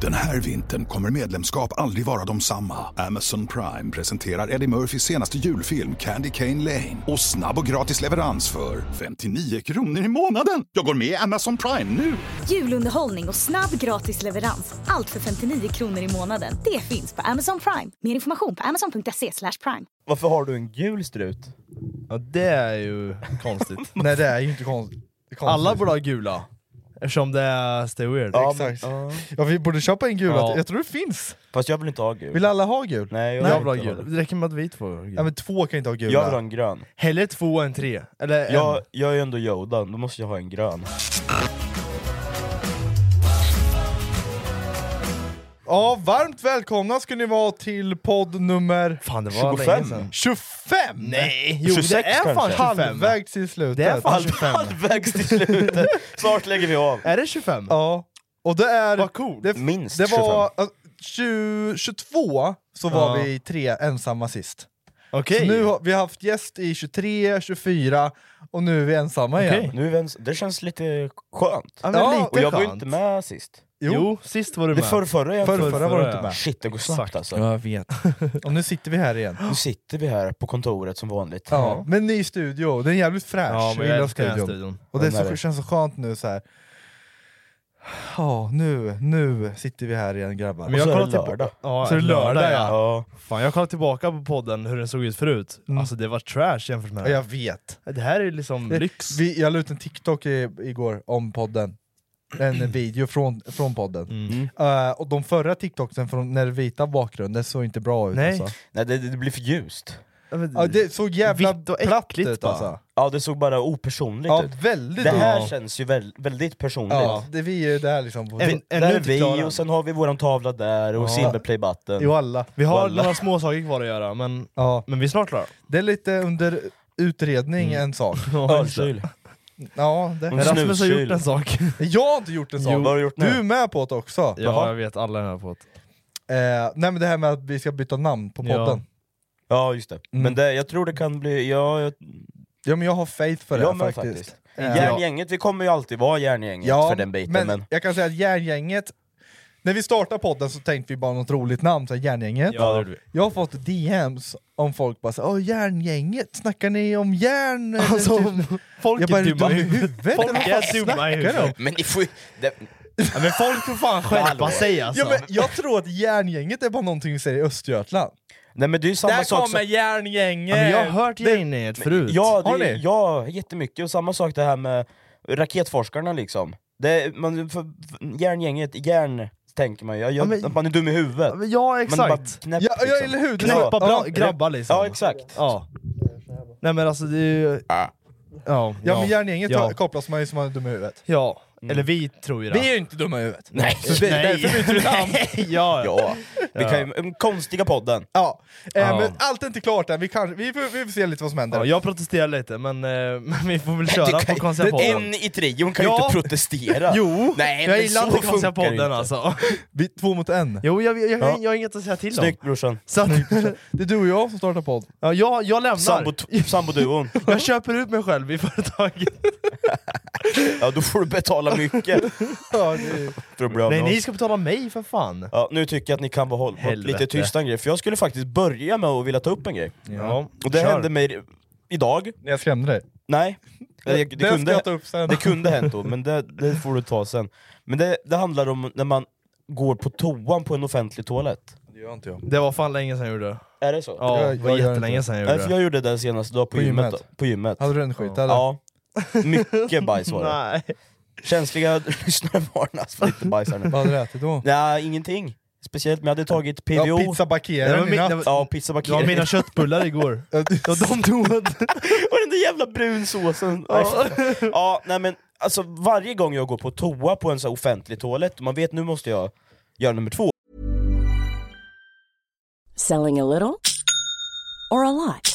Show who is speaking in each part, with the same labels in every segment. Speaker 1: Den här vintern kommer medlemskap aldrig vara de samma. Amazon Prime presenterar Eddie Murphys senaste julfilm Candy Cane Lane. Och snabb och gratis leverans för 59 kronor i månaden. Jag går med i Amazon Prime nu!
Speaker 2: Julunderhållning och snabb gratis leverans. Allt för 59 kronor i månaden. Det finns på Amazon Prime. Mer information på amazon.se slash prime.
Speaker 3: Varför har du en gul strut?
Speaker 4: Ja, det är ju konstigt.
Speaker 3: Nej det är ju inte konst- konstigt.
Speaker 4: Alla borde ha gula. Eftersom det är Stay Weird.
Speaker 3: Ja,
Speaker 4: Exakt.
Speaker 3: men- ja.
Speaker 5: Ja, vi borde köpa en gul,
Speaker 4: Ja.
Speaker 5: jag tror det finns!
Speaker 3: Fast jag vill inte ha gul.
Speaker 5: Vill alla ha gul?
Speaker 3: Nej, jag,
Speaker 4: Jag
Speaker 3: vill
Speaker 4: vill ha
Speaker 3: inte
Speaker 4: gul. Det räcker med att vi två har gul.
Speaker 5: Ja men två kan inte ha gula.
Speaker 3: Jag vill ha en grön.
Speaker 4: Hellre två än tre. Eller
Speaker 3: Jag,
Speaker 4: en.
Speaker 3: jag är ju ändå Yoda, då måste jag ha en grön.
Speaker 5: Ja, varmt välkomna ska ni vara till podd nummer
Speaker 4: Fan det var
Speaker 3: 25.
Speaker 4: länge sedan.
Speaker 5: 25!
Speaker 4: Nej! Jo
Speaker 3: 26
Speaker 4: det är fan
Speaker 3: kanske.
Speaker 4: 25.
Speaker 5: Halvvägs till slutet.
Speaker 4: Det är fan 25.
Speaker 3: Halvvägs till slutet! Snart lägger vi av.
Speaker 4: Är det 25?
Speaker 5: Ja, och det är...
Speaker 4: Vad coolt.
Speaker 5: Det,
Speaker 3: Minst
Speaker 5: det
Speaker 3: 25.
Speaker 5: var... Alltså, 20, 22 så var
Speaker 4: Ja.
Speaker 5: vi tre ensamma sist.
Speaker 4: Okej.
Speaker 5: Så nu har vi har haft gäst i 23, 24 och nu är vi ensamma igen.
Speaker 3: Nu är vi ens, det känns lite skönt.
Speaker 4: Ja, men
Speaker 5: Ja,
Speaker 4: lite
Speaker 3: Och jag var ju
Speaker 4: skönt.
Speaker 3: inte med sist.
Speaker 4: Jo. sist var du
Speaker 3: Det
Speaker 4: med.
Speaker 3: förra, förra jag
Speaker 5: Förrförra
Speaker 4: förrförra,
Speaker 5: var du inte
Speaker 4: ja.
Speaker 5: med.
Speaker 3: Shit det går snabbt alltså.
Speaker 4: Jag vet.
Speaker 5: Och nu sitter vi här igen.
Speaker 3: Nu sitter vi här på kontoret som vanligt.
Speaker 5: Ja, men ny studio, den är jävligt fräsch.
Speaker 4: Ja, men
Speaker 5: Jag
Speaker 4: jag
Speaker 5: gillar
Speaker 4: älskar den här
Speaker 5: studion.
Speaker 4: studion.
Speaker 5: Och det är
Speaker 3: Den är
Speaker 5: så,
Speaker 3: det.
Speaker 5: känns så skönt nu så här. Ja, nu, nu sitter vi här igen grabbar.
Speaker 3: Och så är det
Speaker 4: kollar tillba-
Speaker 3: lördag.
Speaker 4: Ja,
Speaker 5: Så är det lördag, ja.
Speaker 3: Ja.
Speaker 4: Fan, jag kollar tillbaka på podden hur den såg ut förut. Alltså det var trash jämfört med
Speaker 5: Ja,
Speaker 4: det här.
Speaker 5: jag vet.
Speaker 4: Det här är ju liksom
Speaker 5: Det-
Speaker 4: lyx.
Speaker 5: Vi, jag la ut en TikTok i, igår om podden. En video från, från podden.
Speaker 3: Mm.
Speaker 5: Eh, och de förra TikToksen från när det vita bakgrunden såg inte bra ut
Speaker 4: Nej.
Speaker 5: alltså.
Speaker 3: Nej det, det blir för ljust.
Speaker 5: Ja, det såg jävla
Speaker 4: Vitt och
Speaker 5: platt
Speaker 4: äckligt
Speaker 5: ut
Speaker 4: bara.
Speaker 5: alltså.
Speaker 3: Ja det såg bara opersonligt
Speaker 5: Ja,
Speaker 3: ut.
Speaker 5: väldigt
Speaker 3: Det här
Speaker 5: bra.
Speaker 3: känns ju väl, väldigt personligt.
Speaker 5: Ja, det vi är ju där liksom. på-
Speaker 4: Än-
Speaker 3: Vi-
Speaker 4: ännu
Speaker 3: där är
Speaker 4: inte klara.
Speaker 3: vi, och sen har vi våran tavla där, och silverplay button.
Speaker 5: Jo alla.
Speaker 4: Vi har
Speaker 3: Walla.
Speaker 4: några små saker kvar att göra, men,
Speaker 5: Ja,
Speaker 4: men vi är snart klara.
Speaker 5: det är lite under utredning en sak.
Speaker 3: Ölkyl.
Speaker 5: Ja, det.
Speaker 3: Mm.
Speaker 4: Rasmus har
Speaker 3: snuskyl.
Speaker 4: gjort en sak.
Speaker 5: Jag har inte gjort en sak.
Speaker 3: Vad har du gjort
Speaker 5: Du
Speaker 3: nu?
Speaker 5: är med på det också.
Speaker 4: Ja, jag vet. Alla är här på ett.
Speaker 5: Eh, nej men det här med att vi ska byta namn på
Speaker 4: Ja.
Speaker 5: podden.
Speaker 3: Ja just det.
Speaker 5: Mm.
Speaker 3: Men det, jag tror det kan bli... Ja, jag,
Speaker 5: Ja men jag har faith för det
Speaker 3: jag med
Speaker 5: faktiskt.
Speaker 3: faktiskt.
Speaker 5: Eh,
Speaker 3: Järngänget, vi kommer ju alltid vara järngänget
Speaker 5: ja,
Speaker 3: för den biten.
Speaker 5: men,
Speaker 3: Men,
Speaker 5: jag kan säga att järngänget, när vi startade podden så tänkte vi bara något roligt namn, så här järngänget.
Speaker 4: Ja, det gjorde vi.
Speaker 5: Jag har fått DMs om folk bara såhär, åh järngänget, snackar ni om järn? eller
Speaker 4: Alltså,
Speaker 5: typ-
Speaker 4: folk
Speaker 5: jag
Speaker 4: är
Speaker 5: bara, är du
Speaker 4: dumma
Speaker 5: dum
Speaker 4: i
Speaker 5: i
Speaker 4: huvudet.
Speaker 5: huvudet?
Speaker 4: Folk
Speaker 5: eller vad
Speaker 4: är
Speaker 5: fan
Speaker 4: dumma i
Speaker 5: snackar du om?"
Speaker 4: huvudet.
Speaker 3: men ni får ju... Det,
Speaker 4: Ja, men folk får fan skärpa
Speaker 3: Hallå.
Speaker 4: sig alltså.
Speaker 5: Ja, men jag tror att järngänget är bara någonting vi säger i Östergötland.
Speaker 3: nej men det är ju samma sak som...
Speaker 4: Ja,
Speaker 5: järngänget!
Speaker 4: men jag har hört Gängnyhet förut.
Speaker 3: Ja,
Speaker 5: Har
Speaker 3: det,
Speaker 5: ni?
Speaker 3: ja, jättemycket. Och samma sak det här med raketforskarna liksom. Det, man, för, för, järngänget, järn tänker man ju. Jag,
Speaker 4: men-
Speaker 3: att man är dum i huvudet.
Speaker 4: Ja, men ja
Speaker 3: Man är bara
Speaker 4: exakt.
Speaker 3: knäpp,
Speaker 5: Ja, ja,
Speaker 3: liksom.
Speaker 5: eller hur? Det är så.
Speaker 4: Knäppa bra,
Speaker 5: Ja.
Speaker 4: grabbar liksom.
Speaker 3: Ja, exakt.
Speaker 4: Ja. Nej men alltså det är ju... Ja, ja,
Speaker 5: Ja men järngänget
Speaker 4: Ja.
Speaker 5: kopplas man ju som man är dum i huvudet.
Speaker 4: Ja. Eller vi tror ju det.
Speaker 5: ju inte dumma i huvudet.
Speaker 3: Nej.
Speaker 5: Så det,
Speaker 4: Nej.
Speaker 5: därför byter du namn.
Speaker 4: ja, ja.
Speaker 3: Ja, vi kan ju... um, Konstiga podden.
Speaker 5: Ja, eh,
Speaker 4: Ja.
Speaker 5: men allt är inte klart än, vi, kan, vi, får, vi får se lite vad som händer.
Speaker 4: ja. Jag protesterar lite men, eh, men vi får väl köra på konstiga podden.
Speaker 3: En i trion kan ju
Speaker 4: Ja.
Speaker 3: inte protestera.
Speaker 4: Jo!
Speaker 3: Nej,
Speaker 4: jag
Speaker 3: men
Speaker 4: gillar
Speaker 3: så
Speaker 4: inte konstiga
Speaker 3: funkar det
Speaker 4: podden
Speaker 3: inte.
Speaker 4: alltså.
Speaker 5: Vi, två mot en.
Speaker 4: Jo, jag, jag, jag,
Speaker 3: Ja.
Speaker 4: jag har inget att säga till om.
Speaker 3: Snyggt brorsan.
Speaker 4: Så att,
Speaker 5: Det är du och jag som startar podd.
Speaker 4: ja, jag, jag lämnar.
Speaker 3: Sambo, samboduon.
Speaker 4: Jag köper ut mig själv i företaget.
Speaker 3: Ja, då får du betala mycket
Speaker 5: Ja, det,
Speaker 3: för att bli av
Speaker 4: Nej,
Speaker 3: med oss.
Speaker 4: ni ska betala mig för fan.
Speaker 3: Ja, nu tycker jag att ni kan vara hållbart
Speaker 4: Helvete.
Speaker 3: lite tysta en grej, för jag skulle faktiskt börja med att vilja ta upp en grej.
Speaker 4: Ja.
Speaker 3: Och det
Speaker 4: Kör.
Speaker 3: hände mig idag.
Speaker 5: när jag skrämde dig.
Speaker 3: Nej, det, det,
Speaker 5: Den ska
Speaker 3: kunde,
Speaker 5: jag ta upp sen.
Speaker 3: det kunde hänt då, men det, det får du ta sen. Men det, det handlar om när man går på toan på en offentlig toalett.
Speaker 5: Det gör inte jag.
Speaker 4: Det var fan länge sedan jag gjorde det.
Speaker 3: Är det så?
Speaker 4: Ja,
Speaker 5: Jag-
Speaker 4: det var
Speaker 5: jag gör
Speaker 4: jättelänge sedan jag
Speaker 3: Nej,
Speaker 4: gjorde
Speaker 3: för
Speaker 4: det.
Speaker 3: Alltså, jag gjorde det senast idag på,
Speaker 5: På
Speaker 3: gymmet.
Speaker 5: gymmet?
Speaker 3: då. På gymmet.
Speaker 5: Hade du en skit eller?
Speaker 3: Ja. Mycket bajs var det.
Speaker 4: Nej.
Speaker 3: Känsliga lyssnare varnas för lite bajs här nu.
Speaker 5: Vad hade du ätit då?
Speaker 3: Nej, ingenting. Speciellt, men jag hade tagit PVO.
Speaker 5: Ja, pizza
Speaker 4: Det var
Speaker 5: bakeraren
Speaker 4: min-
Speaker 5: innan.
Speaker 4: det var-
Speaker 3: Ja, pizza
Speaker 4: Det var mina köttbullar igår. Ja, de tog
Speaker 3: Och den där jävla brunsåsen!
Speaker 4: Ja.
Speaker 3: ja, nej men alltså varje gång jag går på toa på en så här offentlig toalett, man vet nu måste jag göra nummer två.
Speaker 6: Selling a little or a lot?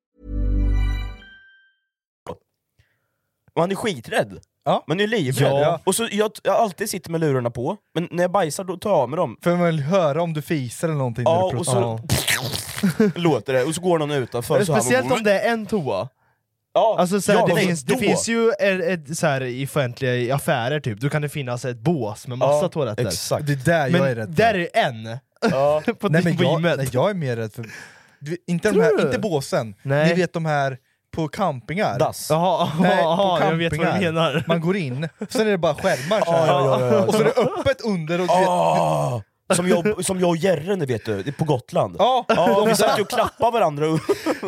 Speaker 3: Och han är skiträdd.
Speaker 5: Ja.
Speaker 3: Man är livrädd.
Speaker 5: Ja.
Speaker 3: Och så jag, jag alltid sitter med lurarna på, men när jag bajsar då tar jag av mig dem.
Speaker 5: För man vill höra om du fiser eller någonting. när
Speaker 3: Ja,
Speaker 5: du
Speaker 3: och
Speaker 5: pratar.
Speaker 3: så låter det, och så går någon utanför. Så här, "Mm."
Speaker 4: Speciellt om det är en toa.
Speaker 3: Ja,
Speaker 4: Alltså så här,
Speaker 3: ja,
Speaker 4: det,
Speaker 3: men
Speaker 4: finns,
Speaker 3: då-
Speaker 4: det finns ju ett, ett, så här, i offentliga i affärer typ, då kan det finnas ett bås med massa
Speaker 3: Ja,
Speaker 4: toaletter.
Speaker 3: Exakt.
Speaker 5: Det är där jag
Speaker 4: Men
Speaker 5: är rädd för.
Speaker 4: där är en!
Speaker 3: Ja.
Speaker 4: på
Speaker 5: Nej,
Speaker 4: nej,
Speaker 5: men jag,
Speaker 4: gymmet.
Speaker 5: nej, jag är mer rädd för... Du, inte, de
Speaker 4: Tror
Speaker 5: här,
Speaker 4: du?
Speaker 5: inte båsen,
Speaker 4: Nej.
Speaker 5: ni vet de här på campingar.
Speaker 3: Dass.
Speaker 4: Jaha,
Speaker 5: Nej, på
Speaker 4: jaha, jag vet vad du
Speaker 5: campingar.
Speaker 4: menar.
Speaker 5: Man går in, sen är det bara skärmar så här.
Speaker 3: ja, ja, ja.
Speaker 5: och så är det öppet under och du vet,
Speaker 3: Ah, som, jag, som jag och Jerre nu vet du, det är på Gotland.
Speaker 5: Ja.
Speaker 3: Ja, vi satt ju och klappade varandra. och-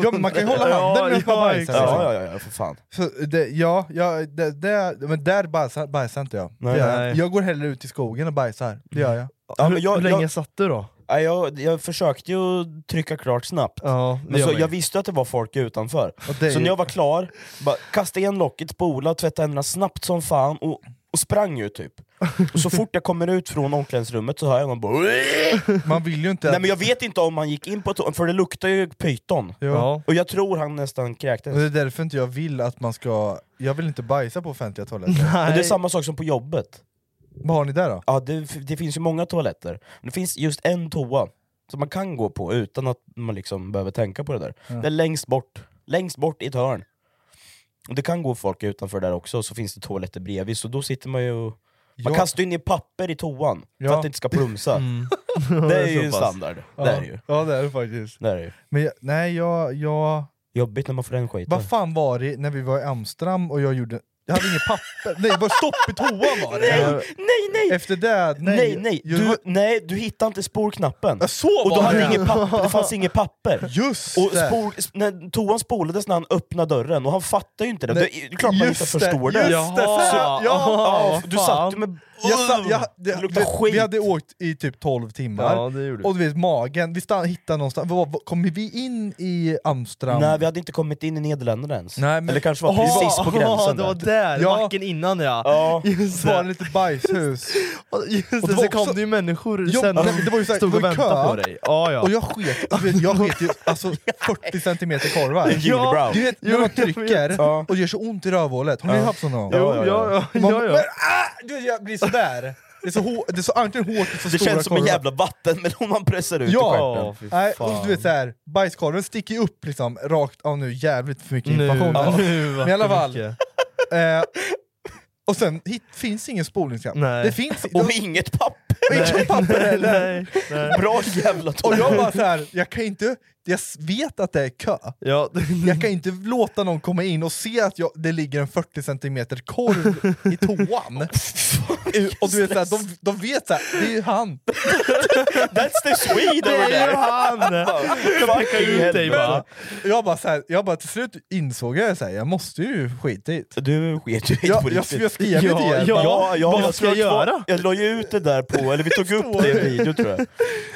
Speaker 5: ja, men man kan ju hålla handen medan man
Speaker 4: Ja,
Speaker 5: bajsar.
Speaker 4: exakt.
Speaker 5: liksom.
Speaker 3: Ja, ja, ja, ja, för fan.
Speaker 5: Så det, ja, ja det, det, men där bajsar, bajsar inte jag.
Speaker 4: Nej,
Speaker 5: det gör jag.
Speaker 4: nej.
Speaker 5: inte. jag går hellre ut i skogen och bajsar, det gör jag.
Speaker 3: Ja,
Speaker 4: hur,
Speaker 3: men jag,
Speaker 4: hur länge
Speaker 3: jag,
Speaker 4: satt du då?
Speaker 3: ja, jag, jag försökte ju trycka klart snabbt.
Speaker 4: Ja,
Speaker 3: Men så, jag visste att det var folk utanför.
Speaker 5: Och det är
Speaker 3: Så
Speaker 5: ju-
Speaker 3: när jag var klar, bara kastade igen locket, spola, tvättade händerna snabbt som fan och, och sprang ju typ. Och så fort jag kommer ut från omklädningsrummet så hör jag någon bara
Speaker 5: Man vill ju inte...
Speaker 3: Nej men jag vet inte om han gick in på toan, för det luktar ju pyton.
Speaker 5: Jo.
Speaker 4: ja.
Speaker 3: Och jag tror han nästan kräktes.
Speaker 5: Och det är därför inte jag vill att man ska... Jag vill inte bajsa på offentliga toaletter.
Speaker 3: Men det är
Speaker 4: Nej.
Speaker 3: samma sak som på jobbet.
Speaker 5: Vad har ni där då?
Speaker 3: Ja, det, det finns ju många toaletter, men det finns just en toa som man kan gå på utan att man liksom behöver tänka på det där. Det är längst bort, längst bort i ett hörn. Och det kan gå folk utanför där också, och så finns det toaletter bredvid, så då sitter man ju och... Man
Speaker 5: Ja.
Speaker 3: kastar ju ner papper i toan
Speaker 5: Ja. Mm.
Speaker 3: för att det inte ska plumsa. Det är ju en standard. Det är det ju.
Speaker 5: Ja det är det faktiskt.
Speaker 3: Det är det ju.
Speaker 5: Men jag, nej jag, jag...
Speaker 3: Jobbigt när man får den skiten.
Speaker 5: Vad fan var det när vi var i Amsterdam och jag gjorde... Jag hade inget papper, nej bara stopp i toan var det!
Speaker 3: Nej, nej, nej!
Speaker 5: Efter det, nej!
Speaker 3: Nej, nej!
Speaker 5: Jag,
Speaker 3: Du, nej, du hittar inte sporknappen.
Speaker 5: så
Speaker 3: Och då
Speaker 5: var
Speaker 3: hade
Speaker 5: det!
Speaker 3: inget papper, det fanns inget papper.
Speaker 5: Just
Speaker 3: Och
Speaker 5: det!
Speaker 3: spol, sp- när toan spolades när han öppnade dörren, och han fattar ju inte det.
Speaker 5: Nej,
Speaker 3: det är klart man inte
Speaker 5: just det,
Speaker 3: förstår det.
Speaker 5: just det,
Speaker 3: Så,
Speaker 5: fan.
Speaker 3: ja,
Speaker 4: Ja,
Speaker 3: du
Speaker 4: fan.
Speaker 3: satt ju med...
Speaker 5: Jag, sa- jag, det,
Speaker 3: det luktar
Speaker 5: vi,
Speaker 3: skit.
Speaker 5: vi hade åkt i typ 12 timmar,
Speaker 4: Ja, det gjorde du.
Speaker 5: och du vet magen, vi stann, hittade någonstans, vad, vad, kom vi in i Amsterdam?
Speaker 3: Nej, vi hade inte kommit in i Nederländerna ens.
Speaker 5: Nej, men-
Speaker 3: Eller kanske var
Speaker 5: Åh,
Speaker 3: precis på gränsen
Speaker 4: det var
Speaker 3: där.
Speaker 4: där,
Speaker 5: Ja.
Speaker 4: macken innan ja.
Speaker 3: Ja.
Speaker 4: Just
Speaker 5: det var
Speaker 4: det,
Speaker 5: lite bajshus,
Speaker 4: Just det.
Speaker 5: Och det
Speaker 4: sen
Speaker 5: var också-
Speaker 4: kom det ju människor
Speaker 5: Jo,
Speaker 4: sen
Speaker 5: nej,
Speaker 4: och
Speaker 5: men det var ju så här,
Speaker 4: stod
Speaker 5: det
Speaker 4: och
Speaker 5: var ju
Speaker 4: väntade
Speaker 5: kö.
Speaker 4: på dig. Ja, ja.
Speaker 5: och jag sket, du vet, jag sket ju alltså 40 centimeter korvar.
Speaker 3: Unibrow.
Speaker 5: Du vet, när man
Speaker 4: jag
Speaker 5: trycker
Speaker 3: Ja.
Speaker 5: och det gör så ont i rövhålet, har ni haft sån någon gång?
Speaker 4: Jo, ja, ja.
Speaker 5: Man,
Speaker 4: ja,
Speaker 5: Men,
Speaker 4: ja.
Speaker 5: ah, du, vet, jag blir sådär. Det är så, hår, det är så antingen hårt eller så
Speaker 3: Det
Speaker 5: stora
Speaker 3: känns som en
Speaker 5: korvar.
Speaker 3: jävla vattenmelon man pressar ut i
Speaker 5: Ja!
Speaker 3: stjärten.
Speaker 4: fy
Speaker 5: Nej,
Speaker 4: fan.
Speaker 5: och du vet såhär, bajskorven sticker ju upp liksom, rakt, ja nu jävligt för mycket
Speaker 4: Nu,
Speaker 5: information. här.
Speaker 4: nu
Speaker 5: Men i alla
Speaker 4: vart det
Speaker 5: fall.
Speaker 4: mycket.
Speaker 5: Eh, och sen hit, finns ingen spolningskam.
Speaker 4: Nej.
Speaker 5: Det finns
Speaker 3: Och inget papper!
Speaker 5: inget papper heller.
Speaker 4: Nej, nej.
Speaker 3: Bra jävla
Speaker 5: Och jag
Speaker 3: toalett!
Speaker 5: bara såhär, jag kan inte, jag s- vet att det är kö.
Speaker 4: Ja,
Speaker 5: Jag kan inte låta någon komma in och se att jag, det ligger en 40 cm korv i toan. Eh, och du vet såhär, de, de vet såhär, det är ju han.
Speaker 3: That's the Swede
Speaker 4: det
Speaker 3: over
Speaker 4: är ju
Speaker 3: there!
Speaker 4: han! Jag pekar ut dig bara.
Speaker 5: Jag bara, så här, jag bara till slut insåg jag såhär, jag måste ju skita i det.
Speaker 3: Du sket ju i
Speaker 5: Jag,
Speaker 3: på
Speaker 5: jag,
Speaker 3: riktigt.
Speaker 5: jag skrev ju till er.
Speaker 4: Ja,
Speaker 3: Ja, ja,
Speaker 4: vad
Speaker 3: jag
Speaker 4: ska jag
Speaker 3: tror att-
Speaker 4: göra?
Speaker 3: Jag la ju ut det där på, eller vi tog upp det i en video tror jag.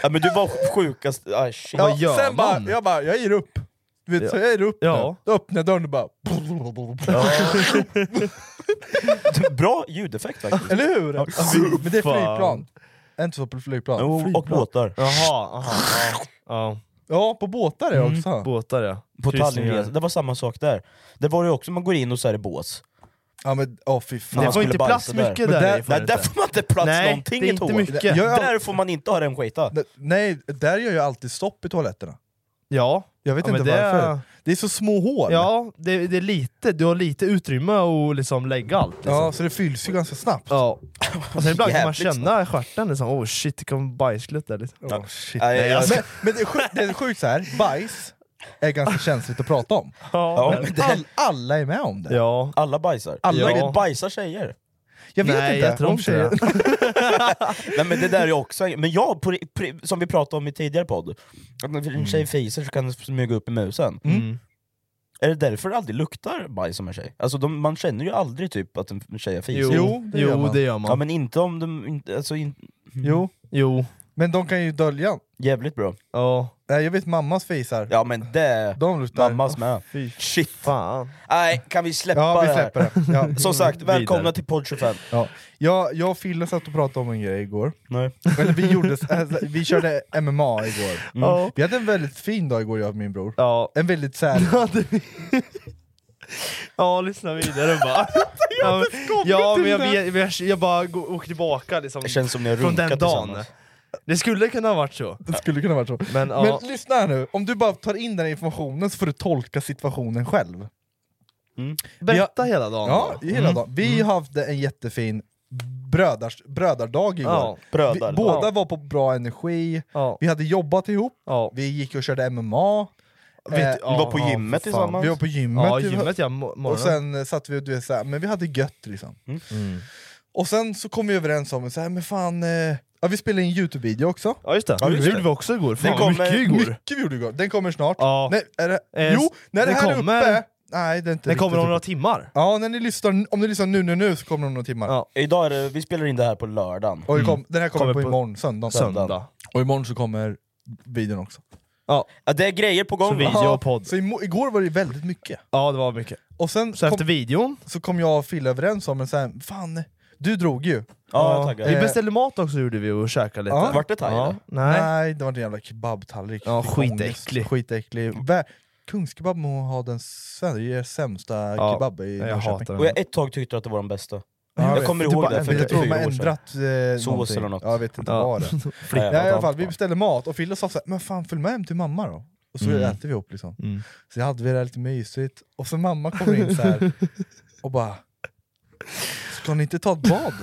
Speaker 3: Ja, men du var sjukast... Ah, shit.
Speaker 5: Ja,
Speaker 4: gör
Speaker 5: sen
Speaker 4: man?
Speaker 5: Bara, jag bara, jag ger upp. Du vet, så jag ger upp
Speaker 4: Ja.
Speaker 5: nu. Då öppnar jag dörren och bara...
Speaker 3: Bra ljudeffekt faktiskt.
Speaker 5: Eller hur? Men det är
Speaker 4: fan.
Speaker 5: flygplan. Inte så på flygplan.
Speaker 3: Jo, Oh, och
Speaker 5: flygplan.
Speaker 3: båtar.
Speaker 4: Jaha, aha, ja. ja.
Speaker 5: Ja, på båtar är
Speaker 4: Mm,
Speaker 5: också.
Speaker 4: Båtar ja.
Speaker 3: På
Speaker 4: Kryssningar.
Speaker 3: Tallinnresan, det var samma sak där. Det var ju också, man går in och så är det bås.
Speaker 5: Ja men åh fy fan.
Speaker 3: När
Speaker 4: Det
Speaker 3: man
Speaker 4: får
Speaker 3: skulle
Speaker 4: inte plats
Speaker 3: bajsa där.
Speaker 4: mycket där,
Speaker 5: Men där-
Speaker 4: i får
Speaker 3: Nej,
Speaker 4: inte.
Speaker 3: där får man inte plats
Speaker 4: Nej,
Speaker 3: någonting
Speaker 4: det är
Speaker 3: i
Speaker 4: inte
Speaker 3: toa.
Speaker 4: mycket.
Speaker 3: Där-
Speaker 5: Ja, ja.
Speaker 3: Där får man inte ha den skita.
Speaker 5: Nej, där gör jag alltid stopp i toaletterna.
Speaker 4: Ja.
Speaker 5: Jag vet
Speaker 4: Ja, men
Speaker 5: inte
Speaker 4: det-
Speaker 5: varför. Det är så små hål.
Speaker 4: Ja, det, det är lite, du har lite utrymme att liksom lägga allt. Liksom.
Speaker 5: ja, så det fylls ju ganska snabbt.
Speaker 4: Ja. Och sen ibland kan man
Speaker 3: Jävligt
Speaker 4: känna i stjärten liksom, oh shit, det kom bajsglutt där liksom. lite.
Speaker 5: Åh, shit.
Speaker 3: Nej, jag-
Speaker 5: Men, men det är sjukt, det är sjukt så här. bajs är ganska känsligt att prata om.
Speaker 4: Ja.
Speaker 3: men det-
Speaker 5: All, alla är med om det.
Speaker 4: Ja.
Speaker 3: Alla bajsar.
Speaker 5: Alla-
Speaker 3: Men bajsar tjejer.
Speaker 5: Jag vet
Speaker 4: Nej,
Speaker 5: inte.
Speaker 4: jag tror
Speaker 5: om
Speaker 4: inte
Speaker 5: tjejer-
Speaker 4: det.
Speaker 3: Nej men det där är också en- Men jag, på, på, som vi pratade om i tidigare podd, att när en tjej fiser så kan den smyga upp i musen.
Speaker 4: Mm.
Speaker 3: Är det därför det aldrig luktar bajs om en tjej? Alltså de, man känner ju aldrig typ att en tjej har fisit.
Speaker 4: Jo,
Speaker 5: Jo, det gör
Speaker 4: jo
Speaker 5: man.
Speaker 4: det gör
Speaker 3: Ja
Speaker 4: man.
Speaker 3: men inte om de... Inte, alltså, in,
Speaker 5: Jo,
Speaker 4: Jo.
Speaker 5: men de kan ju dölja.
Speaker 3: jävligt bra.
Speaker 4: Ja.
Speaker 5: Nej, jag vet mammas fisar.
Speaker 3: Ja men det...
Speaker 5: De luktar...
Speaker 3: Mammas med. Shit.
Speaker 4: Fan.
Speaker 3: Nej, kan vi släppa
Speaker 5: Ja, vi
Speaker 3: det här?
Speaker 5: släpper det. Ja.
Speaker 3: Som sagt, välkomna
Speaker 4: Vidare.
Speaker 3: till podd 25.
Speaker 5: Ja. Jag, jag och Fille satt och pratade om en grej igår.
Speaker 3: Nej.
Speaker 5: Eller vi, gjorde, alltså, vi körde MMA igår.
Speaker 4: Ja.
Speaker 5: Vi hade en väldigt fin dag igår jag och min bror.
Speaker 4: Mm. Ja.
Speaker 5: En väldigt såhär...
Speaker 4: Ja, lyssna vidare bara. ja, men- ja, men jag, jag, jag, jag bara går- åker tillbaka liksom.
Speaker 3: Det känns som ni har
Speaker 4: Från
Speaker 3: runkat
Speaker 4: den dagen.
Speaker 3: tillsammans.
Speaker 4: Det skulle kunna ha varit så.
Speaker 5: Det skulle kunna vara så.
Speaker 4: Men, ja.
Speaker 5: Men lyssna här nu, om du bara tar in den här informationen så får du tolka situationen själv.
Speaker 4: Berätta hela dagen.
Speaker 5: Ja,
Speaker 4: bara.
Speaker 5: hela dagen. Vi hade en jättefin brödars, brödardag igår.
Speaker 4: Ja.
Speaker 5: Vi,
Speaker 3: Brödar.
Speaker 5: båda
Speaker 4: Ja.
Speaker 5: var på bra energi,
Speaker 4: Ja.
Speaker 5: vi hade jobbat ihop,
Speaker 4: Ja.
Speaker 5: vi gick och körde MMA,
Speaker 4: Vet-
Speaker 5: vi
Speaker 3: var på
Speaker 4: ja,
Speaker 3: gymmet
Speaker 4: fan.
Speaker 3: tillsammans.
Speaker 5: Eh, vi var på gymmet,
Speaker 4: Ja,
Speaker 5: vi-
Speaker 4: gymmet ja, mo-
Speaker 5: och
Speaker 4: morgonen.
Speaker 5: sen eh, satt vi och du vet, så här, men vi hade gött liksom.
Speaker 3: Mm.
Speaker 5: Och sen så kom vi överens om, så här, men fan, eh, ja, vi spelade in en Youtube-video också.
Speaker 4: Ja just det,
Speaker 3: Ja, just
Speaker 4: det
Speaker 3: det.
Speaker 4: gjorde vi också igår. Fan,
Speaker 3: Den
Speaker 4: vad
Speaker 3: kommer-
Speaker 4: mycket igår.
Speaker 5: Mycket vi gjorde igår, den kommer snart.
Speaker 4: Ja.
Speaker 5: Nej, är det,
Speaker 4: Eh,
Speaker 5: jo, när det
Speaker 4: den
Speaker 5: här
Speaker 4: kommer-
Speaker 5: är uppe... Nej, det är inte
Speaker 4: Den kommer
Speaker 5: riktigt
Speaker 4: om
Speaker 5: uppe.
Speaker 4: några timmar.
Speaker 5: Ja, när ni lyssnar, om ni lyssnar nu, nu, nu så kommer de några timmar.
Speaker 4: Ja. Mm.
Speaker 3: Idag är det, vi spelar in det här på lördagen.
Speaker 5: Och det kom, Den här kommer,
Speaker 4: Kommer
Speaker 5: på,
Speaker 4: på-
Speaker 5: imorgon, söndag.
Speaker 4: Söndag.
Speaker 5: Och imorgon så kommer videon också.
Speaker 3: Ja, det är grejer på
Speaker 4: Så
Speaker 3: gång
Speaker 4: vi-
Speaker 3: va?
Speaker 4: Video och podd.
Speaker 5: Så imo- igår var det väldigt mycket.
Speaker 4: Ja det var mycket.
Speaker 5: Och sen
Speaker 4: Så
Speaker 5: kom,
Speaker 4: efter videon,
Speaker 5: så kom jag och Fille överens om, men sen, fan, du drog ju.
Speaker 3: Ja, jag taggar.
Speaker 4: vi
Speaker 5: Eh,
Speaker 4: beställde mat också gjorde vi och käkade lite.
Speaker 5: Ja.
Speaker 3: Vart det thai, eller?
Speaker 4: Nej.
Speaker 5: Nej. det var en jävla kebabtallrik.
Speaker 4: Ja,
Speaker 5: Fick
Speaker 4: skitäcklig.
Speaker 5: ångest. Skitäcklig. Vä- Kungskebab må ha den Sveriges sämsta
Speaker 4: Ja,
Speaker 5: kebab i
Speaker 4: Jag
Speaker 5: Norrköping.
Speaker 4: hatar
Speaker 3: Och
Speaker 4: den.
Speaker 3: jag ett tag tyckte att det var den bästa.
Speaker 5: Ja,
Speaker 3: Jag
Speaker 5: vet.
Speaker 3: kommer
Speaker 5: Det
Speaker 3: ihåg
Speaker 5: bara-
Speaker 3: det för
Speaker 4: typ
Speaker 5: Jag tror de har
Speaker 3: fyra år sedan.
Speaker 5: ändrat eh,
Speaker 3: Sås
Speaker 5: någonting.
Speaker 3: eller något.
Speaker 5: Ja, jag vet inte
Speaker 4: Ja.
Speaker 5: vad det är.
Speaker 3: Nej,
Speaker 5: Ja, i alla fall, vi beställde mat och Fille sa såhär, men fan följ med hem till mamma då. Och så
Speaker 4: Mm.
Speaker 5: äter vi ihop liksom.
Speaker 4: Mm.
Speaker 5: Så hade vi det lite mysigt, och så mamma kommer in så här och bara Ska ni inte ta ett bad?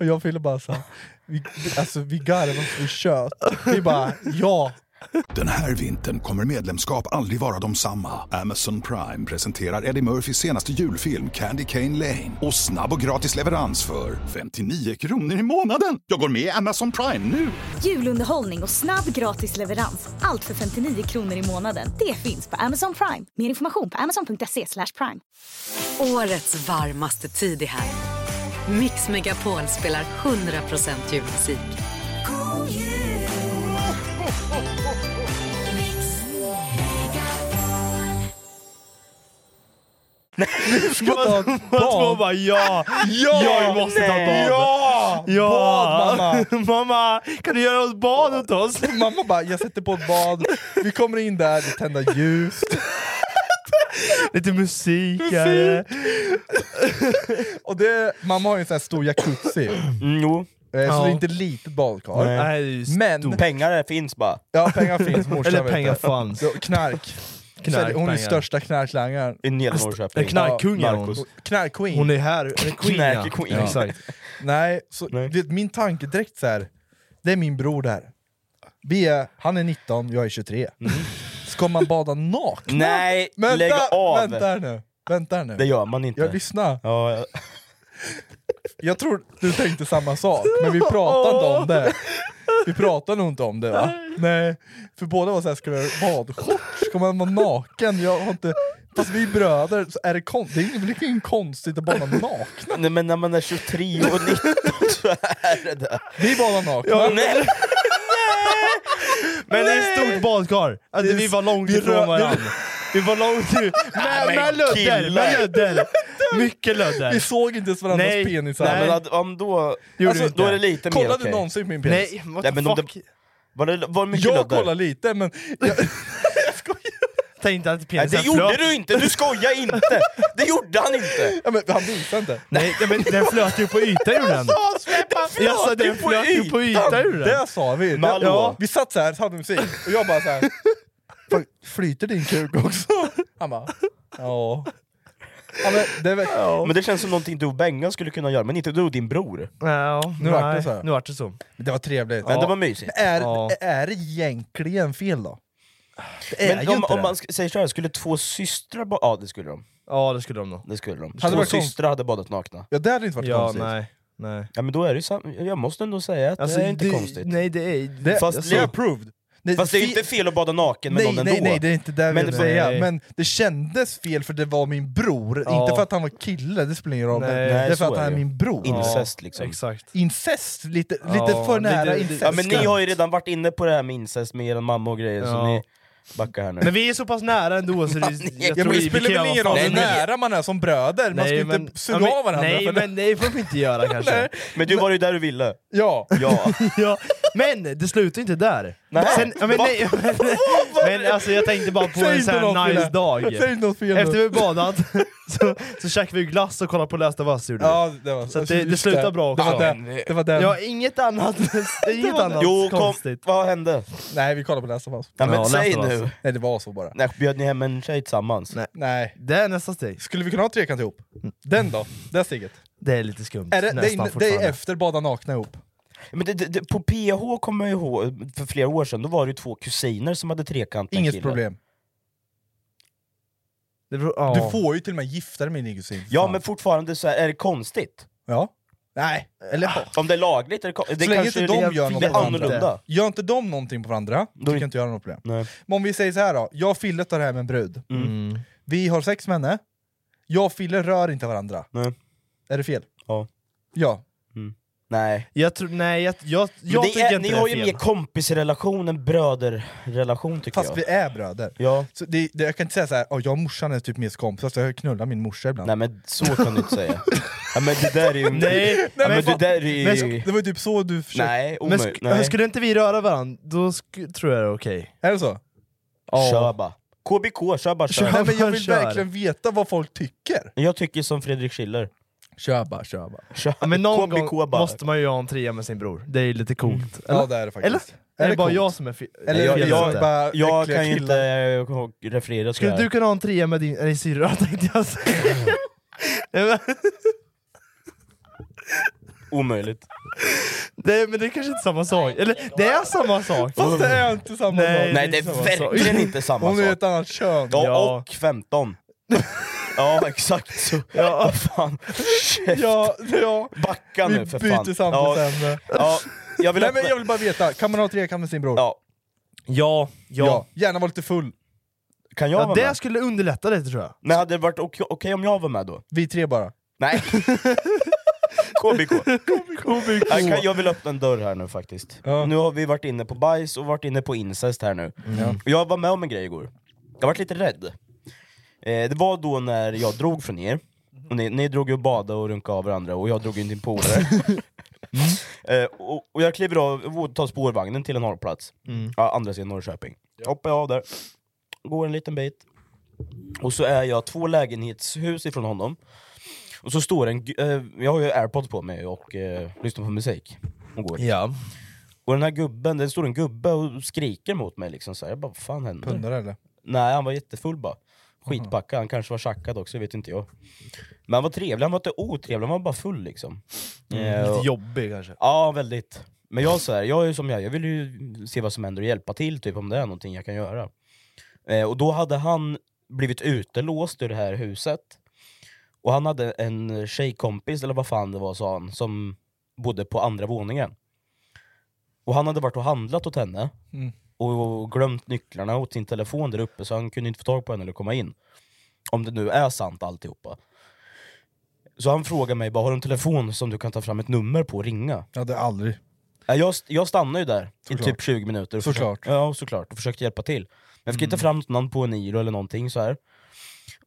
Speaker 5: och jag och Fille bara såhär, vi, alltså vi garvade så vi tjöt. Vi bara ja!
Speaker 1: Den här vintern kommer medlemskap aldrig vara de samma. Amazon Prime presenterar Eddie Murphys senaste julfilm Candy Cane Lane. Och snabb och gratis leverans för 59 kronor i månaden. Jag går med i Amazon Prime nu!
Speaker 2: Julunderhållning och snabb gratis leverans. Allt för 59 kronor i månaden. Det finns på Amazon Prime. Mer information på amazon.se slash prime.
Speaker 7: Årets varmaste tid är här. Mix Megapol spelar 100% julmusik.
Speaker 5: Ta ett
Speaker 4: Två
Speaker 5: bad!
Speaker 4: bara ja,
Speaker 5: Ja!
Speaker 4: jag måste ta bad!
Speaker 5: Ja!
Speaker 4: Ja.
Speaker 5: Bad mamma!
Speaker 4: mamma, kan du göra oss bad åt oss?
Speaker 5: Mamma bara, jag sätter på ett bad, vi kommer in där, det tänder ljus,
Speaker 4: Lite musik, musik.
Speaker 5: och det, mamma har ju en sån här stor jacuzzi, eh,
Speaker 3: Mm, jo.
Speaker 4: Ja.
Speaker 5: så det är inte ett litet badkar.
Speaker 3: Nej.
Speaker 4: Nej, det är ju s-
Speaker 5: Men,
Speaker 3: Pengar det finns bara.
Speaker 5: ja pengar finns morsan
Speaker 4: Eller
Speaker 5: vet
Speaker 4: pengar
Speaker 5: det.
Speaker 4: fanns.
Speaker 5: Så, Knark.
Speaker 4: Knark,
Speaker 5: Hon är
Speaker 4: pengar.
Speaker 5: största knarklangaren.
Speaker 3: I hela Norrköping.
Speaker 4: En knarkkung är hon.
Speaker 3: Marcus.
Speaker 5: Knark-queen.
Speaker 4: Hon Alltså, är här, hon är queen, ja.
Speaker 3: Knark-queen.
Speaker 4: Ja. Exakt.
Speaker 5: Nej, så,
Speaker 3: Nej.
Speaker 5: Vet, min tanke direkt så här. det är min bror där. Vi är, han är 19, jag är 23. Ska man bada nakna?
Speaker 3: Mm. Nej, lägg av!
Speaker 5: Vänta här nu, vänta här nu.
Speaker 3: Det gör man inte.
Speaker 5: jag lyssnar.
Speaker 3: Ja, ja.
Speaker 5: Jag tror du tänkte samma sak, men vi pratade inte om det. Vi pratade nog inte om det va? Nej. För båda var såhär, ska vi ha badshorts? Ska man vara naken? Jag har inte... Fast vi är bröder, så är det, kon... det är väl inget konstigt att bada nakna?
Speaker 3: Nej, men när man är 23 och 19 så är det det.
Speaker 5: Vi badar nakna.
Speaker 3: Nej.
Speaker 4: Men det är ett stort badkar! Alltså, vi var långt ifrån
Speaker 5: rör-
Speaker 4: varandra. Vi var långt ifrån... Med,
Speaker 3: men
Speaker 4: med lödder!
Speaker 3: killar.
Speaker 4: Med lödder! Mycket
Speaker 5: Vi
Speaker 4: lödder!
Speaker 5: såg inte ens varandras
Speaker 4: Nej,
Speaker 5: penisar.
Speaker 4: nej.
Speaker 3: Men att- om då,
Speaker 4: Gjorde
Speaker 3: alltså,
Speaker 4: vi inte.
Speaker 3: då är det lite mer
Speaker 5: Kollade
Speaker 3: okej.
Speaker 5: du någonsin på min penis?
Speaker 4: Nej,
Speaker 3: Nej,
Speaker 4: what the
Speaker 3: men om
Speaker 4: fuck?
Speaker 3: det- Var det, var det mycket
Speaker 5: Jag
Speaker 3: lödder?
Speaker 5: kollar lite men... Jag,
Speaker 4: Tänkte att
Speaker 3: Nej,
Speaker 4: penisen
Speaker 3: det gjorde
Speaker 4: flöt.
Speaker 3: du inte! Du skojar inte! Det gjorde han inte!
Speaker 5: ja, men han visar inte.
Speaker 4: Nej, nej, men den flöt ju på ytan gjorde den. Jag sa den flöt ju på ytan gjorde den.
Speaker 5: Det sa vi!
Speaker 3: Men hallå.
Speaker 5: Ja, vi satt så här, så hade vi musik, och jag bara så här. "Fan, Flyter din kuk också? Han bara, ja. ja men det är väl,
Speaker 3: Men det känns som någonting du och Bengan skulle kunna göra, men inte du och din bror.
Speaker 4: Ja,
Speaker 5: Nu vart det
Speaker 4: nej,
Speaker 5: så här.
Speaker 4: Nu vart det så.
Speaker 5: Men det var trevligt.
Speaker 3: Men
Speaker 5: Ja.
Speaker 3: det var mysigt.
Speaker 5: är,
Speaker 4: Ja.
Speaker 5: är det egentligen fel då? Det är
Speaker 3: Men
Speaker 5: ju
Speaker 3: om,
Speaker 5: inte
Speaker 3: om
Speaker 5: det.
Speaker 3: man sk- säger såhär, skulle två systrar ba- Ja det skulle de.
Speaker 4: Ja, det skulle de nog.
Speaker 3: Det skulle de.
Speaker 5: Hade det
Speaker 3: två
Speaker 5: varit kon-
Speaker 3: systrar hade badat nakna.
Speaker 5: Ja, det hade inte varit
Speaker 4: Ja,
Speaker 5: konstigt.
Speaker 4: nej. Nej.
Speaker 3: Ja men då är det ju sam- Jag måste ändå säga att
Speaker 5: Alltså,
Speaker 3: det är inte konstigt.
Speaker 4: Nej, det är...
Speaker 5: Det,
Speaker 3: Fast
Speaker 5: Fast
Speaker 3: li-
Speaker 5: jag approved. Nej,
Speaker 3: Fast det är ju
Speaker 5: fi-
Speaker 3: inte fel att bada naken med
Speaker 5: Nej,
Speaker 3: någon
Speaker 5: nej,
Speaker 3: ändå.
Speaker 5: nej, det är inte det jag
Speaker 3: Men-
Speaker 5: vill säga.
Speaker 4: Nej.
Speaker 5: Men det kändes fel för det var min bror,
Speaker 4: Ja.
Speaker 5: inte för att han var kille, det spelar ingen roll.
Speaker 4: Nej,
Speaker 5: men det är
Speaker 3: så
Speaker 5: för att
Speaker 3: är
Speaker 5: han
Speaker 3: det
Speaker 5: är
Speaker 3: ju.
Speaker 5: min bror.
Speaker 3: Incest liksom.
Speaker 4: Exakt.
Speaker 5: Incest, lite,
Speaker 4: Ja,
Speaker 5: lite för
Speaker 4: lite-
Speaker 5: nära
Speaker 4: lite-
Speaker 5: incest.
Speaker 3: Ja men ni har ju redan varit inne på det här med incest med er mamma och grejer, så
Speaker 4: Ja.
Speaker 3: ni backar här nu.
Speaker 4: Men vi är så pass nära ändå så det, jag
Speaker 5: Ja,
Speaker 4: tror
Speaker 5: men
Speaker 4: vi
Speaker 5: det spelar
Speaker 4: kan
Speaker 5: väl ingen
Speaker 4: vara
Speaker 5: roll
Speaker 4: fan-
Speaker 5: hur
Speaker 3: Nej, nej.
Speaker 5: nära man är som bröder, man ska ju inte suga
Speaker 4: ja, men-
Speaker 5: av varandra.
Speaker 4: Nej
Speaker 5: för
Speaker 4: men
Speaker 5: det,
Speaker 4: det får vi inte göra kanske.
Speaker 3: Men du var ju där du ville.
Speaker 5: ja.
Speaker 3: Ja.
Speaker 4: ja. Men det slutar inte där.
Speaker 3: Nej.
Speaker 4: Sen, ja, men, nej, men, men alltså jag tänkte bara på
Speaker 5: Säg
Speaker 4: en
Speaker 5: inte
Speaker 4: sån
Speaker 5: något,
Speaker 4: här nice
Speaker 5: Fille.
Speaker 4: dag.
Speaker 5: Säg inte något fel
Speaker 4: Efter
Speaker 5: nu.
Speaker 4: vi badat så, så käkade vi glass och kollade på Last of Us gjorde vi.
Speaker 5: Ja, det var
Speaker 4: Så att det- det slutar bra också.
Speaker 5: Ja, det, det var den.
Speaker 4: Ja, inget annat, inget annat
Speaker 3: Jo, kom,
Speaker 4: konstigt.
Speaker 3: vad hände?
Speaker 5: Nej, vi kollar på nästa pass.
Speaker 3: Ja, men
Speaker 4: Ja,
Speaker 3: säg
Speaker 4: nästan
Speaker 3: nu.
Speaker 4: alltså.
Speaker 5: Nej, det var så bara.
Speaker 3: Nej, bjöd ni hem en tjej tillsammans?
Speaker 4: Nej.
Speaker 5: Nej.
Speaker 4: Det är nästa steg.
Speaker 5: Skulle vi kunna ha trekant ihop? Den då? Det steget?
Speaker 4: Det är lite skumt.
Speaker 5: Är det, det,
Speaker 4: Nästan
Speaker 5: är, det är
Speaker 4: fortfarande.
Speaker 5: efter bada nakna ihop?
Speaker 3: Men det, det, det, på PH kommer jag ihåg, för flera år sedan, då var det ju två kusiner som hade trekant med en
Speaker 5: Inget
Speaker 3: kille.
Speaker 5: problem.
Speaker 4: Det beror- ja.
Speaker 5: Du får ju till och med gifta dig med din kusin.
Speaker 3: Ja
Speaker 5: Fan.
Speaker 3: men fortfarande så här, är det konstigt?
Speaker 5: ja. Nej, eller ja.
Speaker 3: Om Ah. det är lagligt är det konstigt? Det
Speaker 5: Så länge
Speaker 3: kanske
Speaker 5: inte de
Speaker 3: är-
Speaker 5: gör
Speaker 3: det
Speaker 5: något
Speaker 3: är
Speaker 5: åt
Speaker 3: annorlunda.
Speaker 5: Gör inte de någonting på varandra, då
Speaker 3: är-
Speaker 5: tycker jag inte jag har något problem.
Speaker 3: Nej. Mm.
Speaker 5: Men om vi säger så här då, jag och Fille tar hem en brud. Mm. Vi har sex med henne, jag och Fille rör inte varandra.
Speaker 3: Nej.
Speaker 5: Är det fel?
Speaker 3: Ja.
Speaker 5: Ja.
Speaker 3: Nej.
Speaker 4: Jag tror, nej jag, jag,
Speaker 3: Men
Speaker 4: jag
Speaker 3: det
Speaker 4: tycker
Speaker 3: är,
Speaker 4: inte
Speaker 3: ni
Speaker 4: det
Speaker 3: har
Speaker 4: är
Speaker 3: ju
Speaker 4: fel.
Speaker 3: mer kompisrelation än bröderrelation tycker
Speaker 5: Fast
Speaker 3: jag.
Speaker 5: vi är bröder.
Speaker 3: Ja.
Speaker 5: Så det, det, jag kan inte säga så här, "Åh, jag och morsan är typ mest kompisar, så jag knullar min morsa ibland.
Speaker 3: Nej men så kan du inte säga. ja, men det där är ju...
Speaker 4: Nej,
Speaker 3: ja,
Speaker 4: men
Speaker 3: men, det
Speaker 4: fan-
Speaker 3: där är ju...
Speaker 4: men
Speaker 5: Det var ju typ så du försökte...
Speaker 3: nej,
Speaker 4: Men
Speaker 3: omöjligt.
Speaker 4: sk-
Speaker 3: Nej.
Speaker 4: skulle inte vi röra varandra, då sk- tror jag det är okej.
Speaker 5: Är det så?
Speaker 3: Kör bara. KBK, kör bara kör.
Speaker 5: Nej, men jag vill
Speaker 4: Kör.
Speaker 5: verkligen veta vad folk tycker.
Speaker 3: Jag tycker som Fredrik Schiller.
Speaker 5: Kör bara, kör bara.
Speaker 3: Kör.
Speaker 4: Ja, Men någon
Speaker 3: KBK
Speaker 4: gång
Speaker 3: bara.
Speaker 4: måste man ju ha en trea med sin bror, det är ju lite coolt. Eller?
Speaker 5: Ja det är det
Speaker 4: Eller?
Speaker 5: faktiskt.
Speaker 4: Är, det bara
Speaker 5: coolt?
Speaker 4: jag som är fel?
Speaker 5: Eller
Speaker 3: jag-
Speaker 5: jag,
Speaker 3: jag-
Speaker 5: bara
Speaker 3: Jag
Speaker 5: äckliga
Speaker 3: kan ju inte
Speaker 5: killar?
Speaker 3: eh, referera till det
Speaker 4: Skulle
Speaker 3: här.
Speaker 4: du kunna ha en trea med din, din syrra tänkte jag säga. Nej, men,
Speaker 3: Omöjligt.
Speaker 4: det, men det är kanske inte samma sak. Eller det är samma sak!
Speaker 5: Fast det är inte samma
Speaker 4: Nej.
Speaker 5: sak.
Speaker 3: Nej det är verkligen inte samma
Speaker 5: Hon är
Speaker 3: sak.
Speaker 5: ett annat kön.
Speaker 3: Ja,
Speaker 4: Ja.
Speaker 3: och 15. ja, exakt så.
Speaker 4: Ja.
Speaker 3: Vad fan. Shit.
Speaker 5: Ja, ja.
Speaker 3: Backa
Speaker 5: Vi
Speaker 3: nu för fan.
Speaker 5: byter
Speaker 3: ja.
Speaker 5: samtalsämne.
Speaker 3: ja. Jag vill
Speaker 5: Nej men
Speaker 3: öppna-
Speaker 5: jag vill bara veta, kan man ha trekant med sin bror?
Speaker 3: ja.
Speaker 4: Ja, ja.
Speaker 5: Ja, Gärna vara lite full.
Speaker 3: Kan jag
Speaker 4: ja
Speaker 3: vara
Speaker 4: det
Speaker 3: med?
Speaker 4: skulle underlätta lite tror jag.
Speaker 3: Men hade det varit okej okej om jag var med då?
Speaker 5: Vi tre bara.
Speaker 3: Nej. KBK. Jag, kan, jag vill öppna en dörr här nu faktiskt.
Speaker 5: Ja.
Speaker 3: Nu har vi varit inne på bajs och varit inne på incest här nu. Och Jag var med om en grej igår. Jag varit lite rädd. Eh, det var då när jag drog från er, och ni, ni drog ju och badade och runkade av varandra och jag drog in din polare. eh, och, och jag kliver av och tar spårvagnen till en hållplats, ja, andra sidan Norrköping. Hoppar jag av där, går en liten bit, och så är jag två lägenhetshus ifrån honom. Och så står en... gu- Eh, jag har ju airpods på mig och eh, lyssnar på musik. Och går.
Speaker 4: Ja.
Speaker 3: Och den här gubben, det står en gubbe och skriker mot mig liksom så här. Jag bara, vad fan händer?
Speaker 5: Pundar eller?
Speaker 3: Nej, han var jättefull bara. Skitpackad, han kanske var tjackad också, vet inte jag. Men han var trevlig, han var inte otrevlig, han var bara full liksom. Eh, och-
Speaker 4: Lite jobbig kanske.
Speaker 3: Ja, väldigt. Men jag, så här, jag är ju som jag, jag vill ju se vad som händer och hjälpa till typ, om det är någonting jag kan göra. Eh, och då hade han blivit utelåst ur det här huset. Och han hade en tjejkompis, eller vad fan det var sa han, som bodde på andra våningen. Och han hade varit och handlat åt henne,
Speaker 5: Mm.
Speaker 3: och glömt nycklarna åt sin telefon där uppe, så han kunde inte få tag på henne eller komma in. Om det nu är sant alltihopa. Så han frågade mig, bara, har du en telefon som du kan ta fram ett nummer på och ringa?
Speaker 5: Ja det är aldrig.
Speaker 3: Ja, Jag, st- jag stannade ju där i
Speaker 5: Såklart.
Speaker 3: typ 20 minuter. och
Speaker 5: Såklart. Mm.
Speaker 3: försökte- Ja, såklart. Och försökte hjälpa till. Men jag fick inte fram något namn på en Iro eller någonting så här.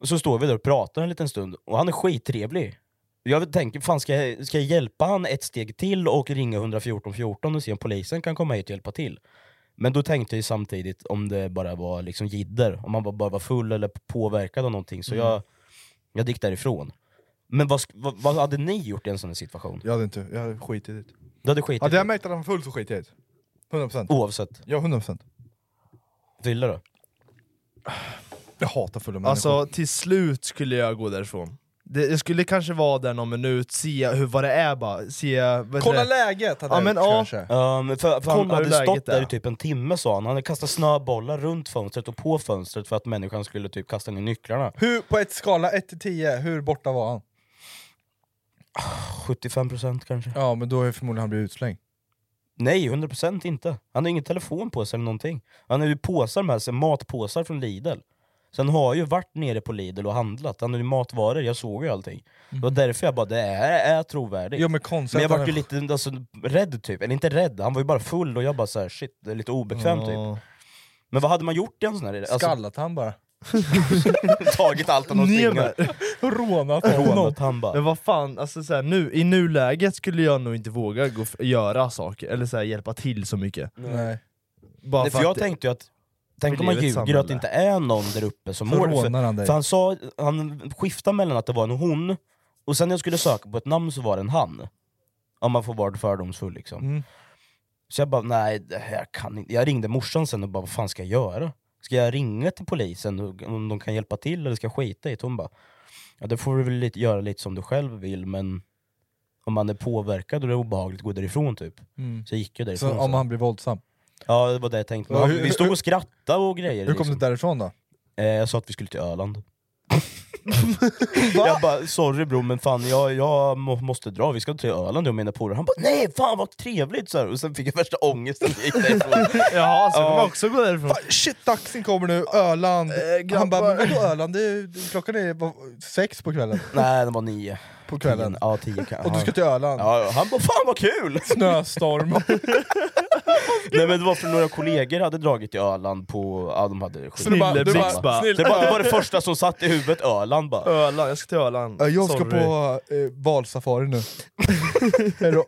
Speaker 3: Och så står vi där och pratar en liten stund, och han är skittrevlig. Jag tänker, fan ska jag, ska jag hjälpa han ett steg till och ringa 114 14 och se om polisen kan komma hit och hjälpa till? Men då tänkte jag ju samtidigt om det bara var liksom jidder, om man bara- bara var full eller påverkad av någonting. Så
Speaker 5: Mm.
Speaker 3: jag, jag gick därifrån. Men vad, sk- vad, vad hade ni gjort i en sån här situation?
Speaker 5: Jag hade inte, jag hade skitit i det.
Speaker 3: Du hade skitit i
Speaker 5: Hade jag märkt att han var full så skiter jag i det. 100%.
Speaker 3: Oavsett?
Speaker 5: Ja, 100%.
Speaker 3: Fylla då?
Speaker 5: Jag hatar fulla människor.
Speaker 4: Alltså till slut skulle jag gå därifrån. Det, jag skulle kanske vara där någon minut, se hur, vad det är bara. Se, vad heter
Speaker 5: Kolla
Speaker 4: det?
Speaker 5: läget hade
Speaker 4: ja,
Speaker 5: jag
Speaker 4: men,
Speaker 5: gjort,
Speaker 4: ja.
Speaker 5: kanske.
Speaker 3: Ja, Ehm, men för, för han
Speaker 4: Kolla hur
Speaker 3: hade
Speaker 4: läget
Speaker 3: stått där
Speaker 4: är.
Speaker 3: i typ en timme sa han, han hade kastat snöbollar runt fönstret och på fönstret för att människan skulle typ kasta ner nycklarna.
Speaker 5: Hur, på ett skala 1-10, hur borta var han?
Speaker 3: 75% kanske?
Speaker 5: Ja men då är förmodligen han blivit utslängd.
Speaker 3: Nej, 100% inte. Han har ingen telefon på sig eller någonting. Han har ju påsar med sig, matpåsar från Lidl. Så han har ju varit nere på Lidl och handlat, han har ju matvaror, jag såg ju allting. Det
Speaker 4: Mm.
Speaker 3: var därför jag bara, det här är trovärdigt.
Speaker 5: Ja, men konstigt
Speaker 3: men jag
Speaker 5: att han
Speaker 3: vart ju
Speaker 5: är-
Speaker 3: lite alltså, rädd typ, eller inte rädd, han var ju bara full och jag bara så här, shit, det är lite obekvämt typ. Men vad hade man gjort i en sån här... alltså-
Speaker 5: Skallat han bara.
Speaker 3: tagit allt han har
Speaker 4: Ner
Speaker 3: stingat.
Speaker 5: Rånat
Speaker 3: Rånat han bara.
Speaker 4: Men vad fan, alltså, så här, nu, i nuläget skulle jag nog inte våga gå f- göra saker, eller så här, hjälpa till så mycket.
Speaker 5: Mm. Nej.
Speaker 4: Bara
Speaker 3: Nej, för
Speaker 4: att
Speaker 3: jag
Speaker 4: det-
Speaker 3: tänkte ju att, tänk om man
Speaker 4: lever i ett
Speaker 3: ljuger och att
Speaker 4: samhälle.
Speaker 3: det inte är någon där uppe som
Speaker 5: Så
Speaker 3: mår
Speaker 5: rånar han
Speaker 3: för,
Speaker 5: dig.
Speaker 3: för han sa, han skiftade mellan att det var en hon, och sen när jag skulle söka på ett namn så var det en han. Om man får vara fördomsfull liksom.
Speaker 5: Mm.
Speaker 3: Så jag bara, nej det här kan inte. Jag ringde morsan sen och bara, vad fan ska jag göra? Ska jag ringa till polisen och- om de kan hjälpa till eller ska jag skita i det? Hon bara, ja det får du väl lite, göra lite som du själv vill men om man är påverkad och det är obehagligt, gå därifrån typ.
Speaker 5: Mm.
Speaker 3: Så jag gick jag därifrån.
Speaker 5: Så
Speaker 3: sen.
Speaker 5: om han blir våldsam.
Speaker 3: Ja det var det jag tänkte,
Speaker 5: Ja,
Speaker 3: men
Speaker 5: hur-
Speaker 3: vi stod och skrattade och grejer liksom.
Speaker 5: Hur kom du därifrån då?
Speaker 3: eh, Jag sa att vi skulle till Öland Jag bara, sorry bror men fan jag, jag må, måste dra, vi ska till Öland jag och mina polare Han bara, nej fan vad trevligt! Så här. Och sen fick jag värsta ångesten när jag gick därifrån
Speaker 4: Jaha, så kommer
Speaker 3: Ja.
Speaker 4: jag också gå därifrån.
Speaker 5: Fan, Shit, taxin kommer nu, Öland. han bara, men vadå Öland? Det är, ju- klockan är vad, sex på kvällen.
Speaker 3: Nej det var nio
Speaker 5: På kvällen.
Speaker 3: Tio, ja tio kan
Speaker 5: Och du ska till Öland.
Speaker 3: Ja, ja. han bara 'Fan vad kul!'
Speaker 5: Snöstorm.
Speaker 3: Nej men det var för några kollegor hade dragit till Öland på... Ja de hade skit.
Speaker 5: Så du bara- du
Speaker 4: Snille
Speaker 5: bara-
Speaker 4: Blix bara.
Speaker 3: Det var, det var det första som satt i huvudet, Öland bara
Speaker 4: Öland, jag ska till Öland.
Speaker 5: Ja, Jag ska
Speaker 4: Sorry.
Speaker 5: på eh, valsafari nu. Hejdå.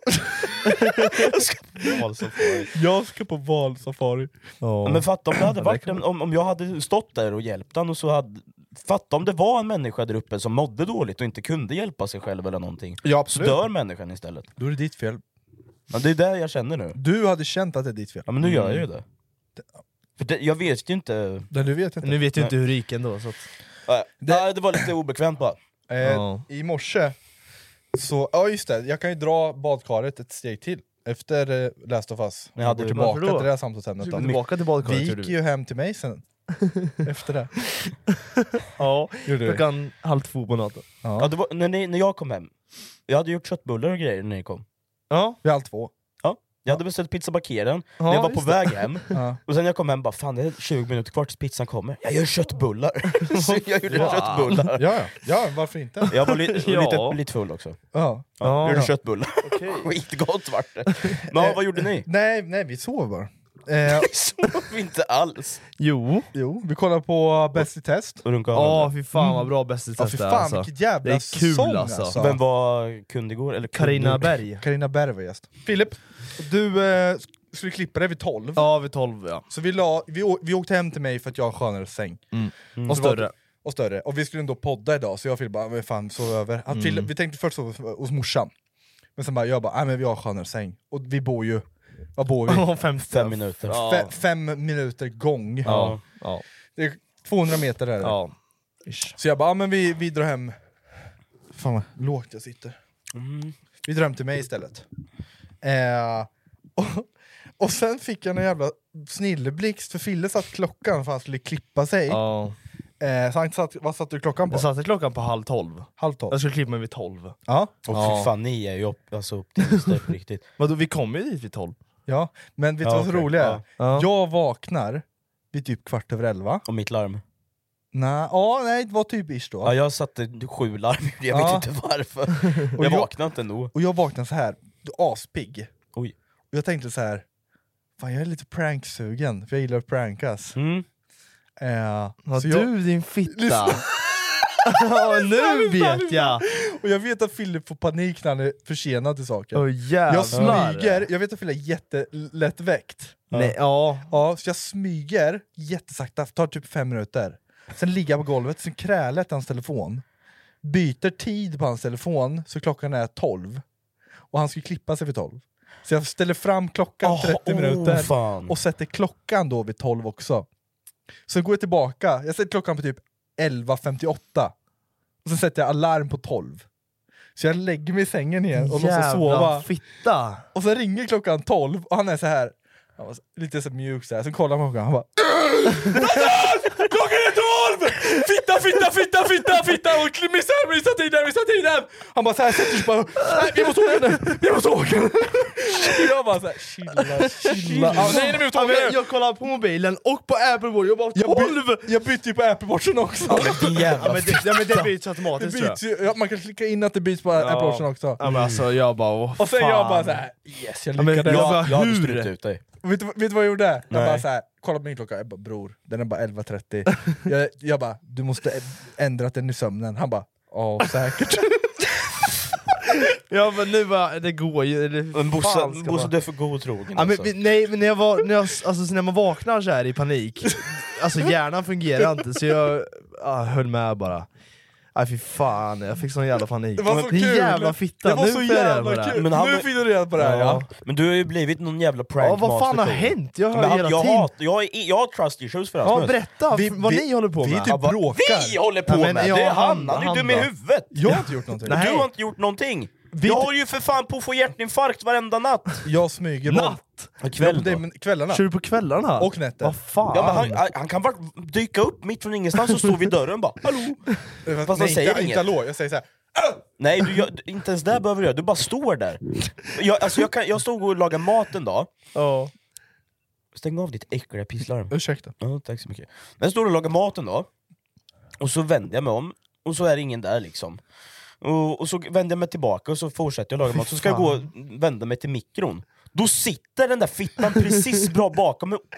Speaker 3: Alltså, fan.
Speaker 5: jag ska på valsafari.
Speaker 3: Ja, Men fatta om det hade varit en, om, om jag hade stått där och hjälpt han och så hade... Fatta om det var en människa där uppe som mådde dåligt och inte kunde hjälpa sig själv eller någonting.
Speaker 5: Ja,
Speaker 3: Så
Speaker 5: absolut.
Speaker 3: dör människan istället.
Speaker 5: Då är det ditt fel.
Speaker 3: Men det är det jag känner nu.
Speaker 5: Du hade känt att det är ditt fel.
Speaker 3: Ja men nu gör jag ju Mm. det. För det, jag vet ju inte... Äh,
Speaker 5: Men du vet inte.
Speaker 4: Nu vet ju inte hur det gick ändå. Så att...
Speaker 3: Nej, äh, det, var lite obekvämt bara.
Speaker 5: Eh,
Speaker 4: Ja.
Speaker 5: I morse, så, ja just det, jag kan ju dra badkaret ett steg till efter eh, Last of Us.
Speaker 3: Ni hade
Speaker 5: går
Speaker 3: ju-
Speaker 5: tillbaka
Speaker 4: varför
Speaker 5: till
Speaker 4: då?
Speaker 5: det här samtalsämnet. då.
Speaker 4: Tillbaka till badkaret
Speaker 5: Vi
Speaker 4: gjorde
Speaker 5: gick
Speaker 4: vi.
Speaker 5: ju hem till mig sen, efter det.
Speaker 4: Ja,
Speaker 5: Gjorde du?
Speaker 4: klockan halv två på natten.
Speaker 3: Ja, det var, när, ni, när jag kom hem, jag hade gjort köttbullar och grejer när ni kom.
Speaker 4: Ja,
Speaker 5: Vi all två.
Speaker 3: Ja, jag hade beställt pizza Bakeren när
Speaker 4: Ja,
Speaker 3: jag var på
Speaker 4: just
Speaker 3: väg hem,
Speaker 5: Ja.
Speaker 3: och sen när jag kom hem bara fan det är 20 minuter kvar tills pizzan kommer. Jag gör köttbullar! Så jag gjorde köttbullar.
Speaker 5: Ja, ja. ja, varför inte?
Speaker 3: Jag var li
Speaker 4: Ja.
Speaker 3: lite, lite full också.
Speaker 5: Ja.
Speaker 3: Jag gjorde
Speaker 5: Ja.
Speaker 3: köttbullar. Skitgott vart det. Men ja, vad gjorde ni?
Speaker 5: Nej, nej, vi sov bara. Eh,
Speaker 3: Sov inte alls.
Speaker 4: Jo.
Speaker 5: jo, vi kollade på Bäst i test.
Speaker 3: Och runka
Speaker 4: Ja,
Speaker 3: av
Speaker 4: fy fan vad bra Bäst i
Speaker 5: Ja, för
Speaker 4: test
Speaker 5: fan
Speaker 4: alltså.
Speaker 5: vilket jävla
Speaker 4: Det är kul,
Speaker 5: säsong
Speaker 4: alltså.
Speaker 5: alltså.
Speaker 3: Vem var kund igår? Eller kund
Speaker 4: Carina
Speaker 3: nu?
Speaker 4: Berg.
Speaker 5: Carina Berg var gäst. Filip, du eh, sk- skulle klippa det vid 12.
Speaker 4: Ja, vid 12 ja.
Speaker 5: Så vi, la, vi, å, vi åkte hem till mig för att jag har en skönare säng.
Speaker 4: Mm. Och
Speaker 5: Så var
Speaker 4: större.
Speaker 5: det- Och större. Och vi skulle ändå podda idag, så jag och Filip bara, "Vad fan, sov över.
Speaker 4: Mm.
Speaker 5: Han, Filip, vi tänkte först sova hos- hos morsan. Men sen bara, jag bara, nej men vi har en skönare säng. Och vi bor ju, vad bor vi?
Speaker 4: Ja, fem,
Speaker 3: Fem minuter.
Speaker 4: Ja.
Speaker 5: Fe, fem minuter gång.
Speaker 4: Ja. Ja.
Speaker 5: Det är 200 meter är det.
Speaker 4: ja.
Speaker 5: Så jag bara, "Ja, men vi, vi drar hem... Fan vad lågt jag sitter.
Speaker 3: Mm.
Speaker 5: Vi drar hem till mig istället. Eh, och, och sen fick jag en jävla snilleblixt, för Fille satt klockan för han skulle klippa sig.
Speaker 4: ja.
Speaker 5: Eh, så han satt, vad satte du klockan på?
Speaker 4: Jag satte klockan på halv tolv.
Speaker 5: Halv
Speaker 4: Jag
Speaker 5: tolv?
Speaker 4: skulle klippa mig vid tolv.
Speaker 5: Ja.
Speaker 3: Och fy fan, ni är ju upp, alltså, optimister på riktigt.
Speaker 4: Vadå, vi kom ju dit vid tolv.
Speaker 5: ja. Men vet du
Speaker 3: Ja,
Speaker 5: vad som
Speaker 3: okej.
Speaker 5: roliga är?
Speaker 3: Ja.
Speaker 4: Ja.
Speaker 5: Jag vaknar vid typ kvart över elva.
Speaker 3: Och mitt larm.
Speaker 5: Nej, ja, nej det var typ ish då.
Speaker 3: Ja, jag satte sju larm, jag vet
Speaker 5: Ja.
Speaker 3: inte varför.
Speaker 5: Och
Speaker 3: Jag
Speaker 5: jag-
Speaker 3: vaknade inte ändå.
Speaker 5: Och jag vaknade så här, aspigg.
Speaker 3: Oj.
Speaker 5: Och jag tänkte så här, fan jag är lite pranksugen, för jag gillar att prankas.
Speaker 3: Mm.
Speaker 5: Eh,
Speaker 4: Ja,
Speaker 5: så
Speaker 4: du
Speaker 5: jag,
Speaker 4: din fitta. ja, nu vet jag!
Speaker 5: Och jag vet att Filip får panik när han är försenad till saker.
Speaker 4: Åh, jävlar.
Speaker 5: jag smyger, jag vet att Filip är jättelätt väckt.
Speaker 4: Nej,
Speaker 5: ja. ja. Så jag smyger jättesakta, tar typ fem minuter. Sen ligger jag på golvet, sen krälar jag till hans telefon. Byter tid på hans telefon så klockan är 12. Och han ska klippa sig vid 12. Så jag ställer fram klockan
Speaker 3: Åh,
Speaker 5: 30
Speaker 3: åh,
Speaker 5: minuter
Speaker 3: fan.
Speaker 5: och sätter klockan då vid 12 också. Sen går jag tillbaka, jag sätter klockan på typ 11.58. Och sen sätter jag alarm på 12. Så jag lägger mig i sängen igen och låtsas
Speaker 4: Jävla
Speaker 5: sova.
Speaker 4: fitta!
Speaker 5: Och sen ringer klockan 12 och han är så här han var så- lite så mjuk så här. sen kollar man på klockan han bara Klockan är tolv! Fitta, fitta, fitta, fitta, fitta! Och kli- missar, missar tiden, missar tiden! Han bara såhär sätter sig bara Nej, vi måste åka nu! Vi måste åka nu! Jag bara såhär chilla, chilla. Ja, nej, nej, vi måste
Speaker 4: Ja,
Speaker 5: åka
Speaker 4: men
Speaker 5: nu!
Speaker 4: Jag kollar på mobilen och på Apple Watch, jag bara
Speaker 5: Jag,
Speaker 4: 12!
Speaker 5: by, jag bytte ju på Apple Watchen också!
Speaker 4: Ja, men det, ja, men det byts
Speaker 5: Det
Speaker 4: automatiskt
Speaker 5: byts ju, ja, man kan klicka in att det byts på Apple Watchen också.
Speaker 4: Ja, men alltså, jag bara åh,
Speaker 5: Och sen
Speaker 4: fan.
Speaker 5: jag bara såhär yes, jag
Speaker 4: Ja, men
Speaker 5: lyckades!
Speaker 4: jag bara,
Speaker 3: Jag hade
Speaker 4: hur?
Speaker 3: strypt ut dig.
Speaker 5: Vet du, vet du vad jag gjorde?
Speaker 3: Nej.
Speaker 5: Jag bara så här, kollade på min klocka, jag bara bror, den är bara 11.30 jag, jag bara, du måste ä- ändra den i sömnen, han bara ja säkert
Speaker 4: Ja men nu bara, det går ju... Det,
Speaker 3: Men Bosse,
Speaker 4: fan ska
Speaker 3: Bosse
Speaker 4: man-
Speaker 3: du är för godtrogen
Speaker 4: Ja, men,
Speaker 3: alltså.
Speaker 4: men, nej men när jag, var, när, jag alltså, så när man vaknar så här i panik, alltså hjärnan fungerar inte så jag ah, höll med bara. Nej fy fan, jag fick sån jävla panik.
Speaker 5: Det var så
Speaker 4: Din
Speaker 5: kul!
Speaker 4: jävla fitta,
Speaker 5: det var
Speaker 4: nu
Speaker 5: så
Speaker 4: får jag reda på det
Speaker 5: jävla
Speaker 4: här.
Speaker 5: kul!
Speaker 3: Men han-
Speaker 5: nu fick du reda på det här ja!
Speaker 3: Men du har ju blivit någon jävla
Speaker 4: Ja,
Speaker 3: prankmaster.
Speaker 4: vad fan har
Speaker 3: tror jag.
Speaker 4: hänt? Jag hör
Speaker 3: Men han-
Speaker 4: hela
Speaker 3: jag,
Speaker 4: tiden.
Speaker 3: hat, jag, är- jag har trust issues för
Speaker 4: Ja
Speaker 3: hans möte.
Speaker 4: berätta
Speaker 5: Vi-
Speaker 4: vad
Speaker 5: vi-
Speaker 4: ni håller på
Speaker 5: vi
Speaker 4: med.
Speaker 5: typ
Speaker 4: Ja, va-
Speaker 5: bråkar.
Speaker 3: Vi håller på
Speaker 4: Ja, men
Speaker 3: med!
Speaker 4: ja,
Speaker 3: det är han!
Speaker 4: han-
Speaker 3: Han är
Speaker 4: han
Speaker 3: ju dum i
Speaker 4: då?
Speaker 3: huvudet!
Speaker 5: Jag har inte gjort någonting,
Speaker 4: Nej.
Speaker 3: Du har inte gjort någonting!
Speaker 4: Vi-
Speaker 3: Jag håller ju för fan på att få hjärtinfarkt varenda natt!
Speaker 5: jag smyger
Speaker 4: Natt!
Speaker 5: på
Speaker 3: kväll
Speaker 5: Ja, det är
Speaker 3: då?
Speaker 5: men- kvällarna,
Speaker 4: Kör du på kvällarna?
Speaker 5: Och nätter.
Speaker 4: Vad fan?
Speaker 3: Ja, men han, han- han kan bara dyka upp mitt från ingenstans och stå vid dörren och bara Hallå?
Speaker 5: fast
Speaker 3: han
Speaker 5: nej,
Speaker 3: säger
Speaker 5: inte,
Speaker 3: inget.
Speaker 5: inte hallå, jag Alltså, säger såhär
Speaker 3: Nej, du, gör- inte ens där behöver du göra, du bara står där. Jag, alltså, jag, kan, jag stod och lagade mat en dag,
Speaker 4: Ja.
Speaker 3: stäng av ditt äckliga pisslarm.
Speaker 5: ursäksta
Speaker 3: Ja, tack så mycket. Men jag står och lagar maten då, och så vänder jag mig om, och så är det ingen där liksom. Och, och så vänder jag mig tillbaka och så fortsätter jag laga mat, så ska jag gå och vända mig till mikron. Då sitter den där fittan precis bra bakom mig och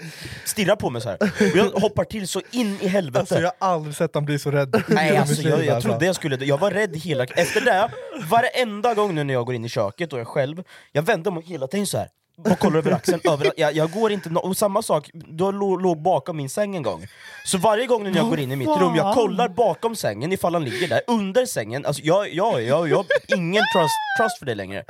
Speaker 3: stirrar på mig så här. Och jag hoppar till så in i helvete.
Speaker 5: Alltså jag har aldrig sett han bli så rädd
Speaker 3: Nej, alltså, jag, jag trodde jag skulle Jag var rädd hela... Efter det, varenda gång nu när jag går in i köket och jag är själv, jag vänder mig hela tiden så här. Och kollar över axeln, över, jag, jag går inte... nå- Och samma sak, då låg, låg bakom min säng en gång. Så varje gång när jag går in i mitt rum, jag kollar bakom sängen ifall han ligger där, under sängen. Alltså jag, jag, jag, jag har ingen trust, trust för det längre.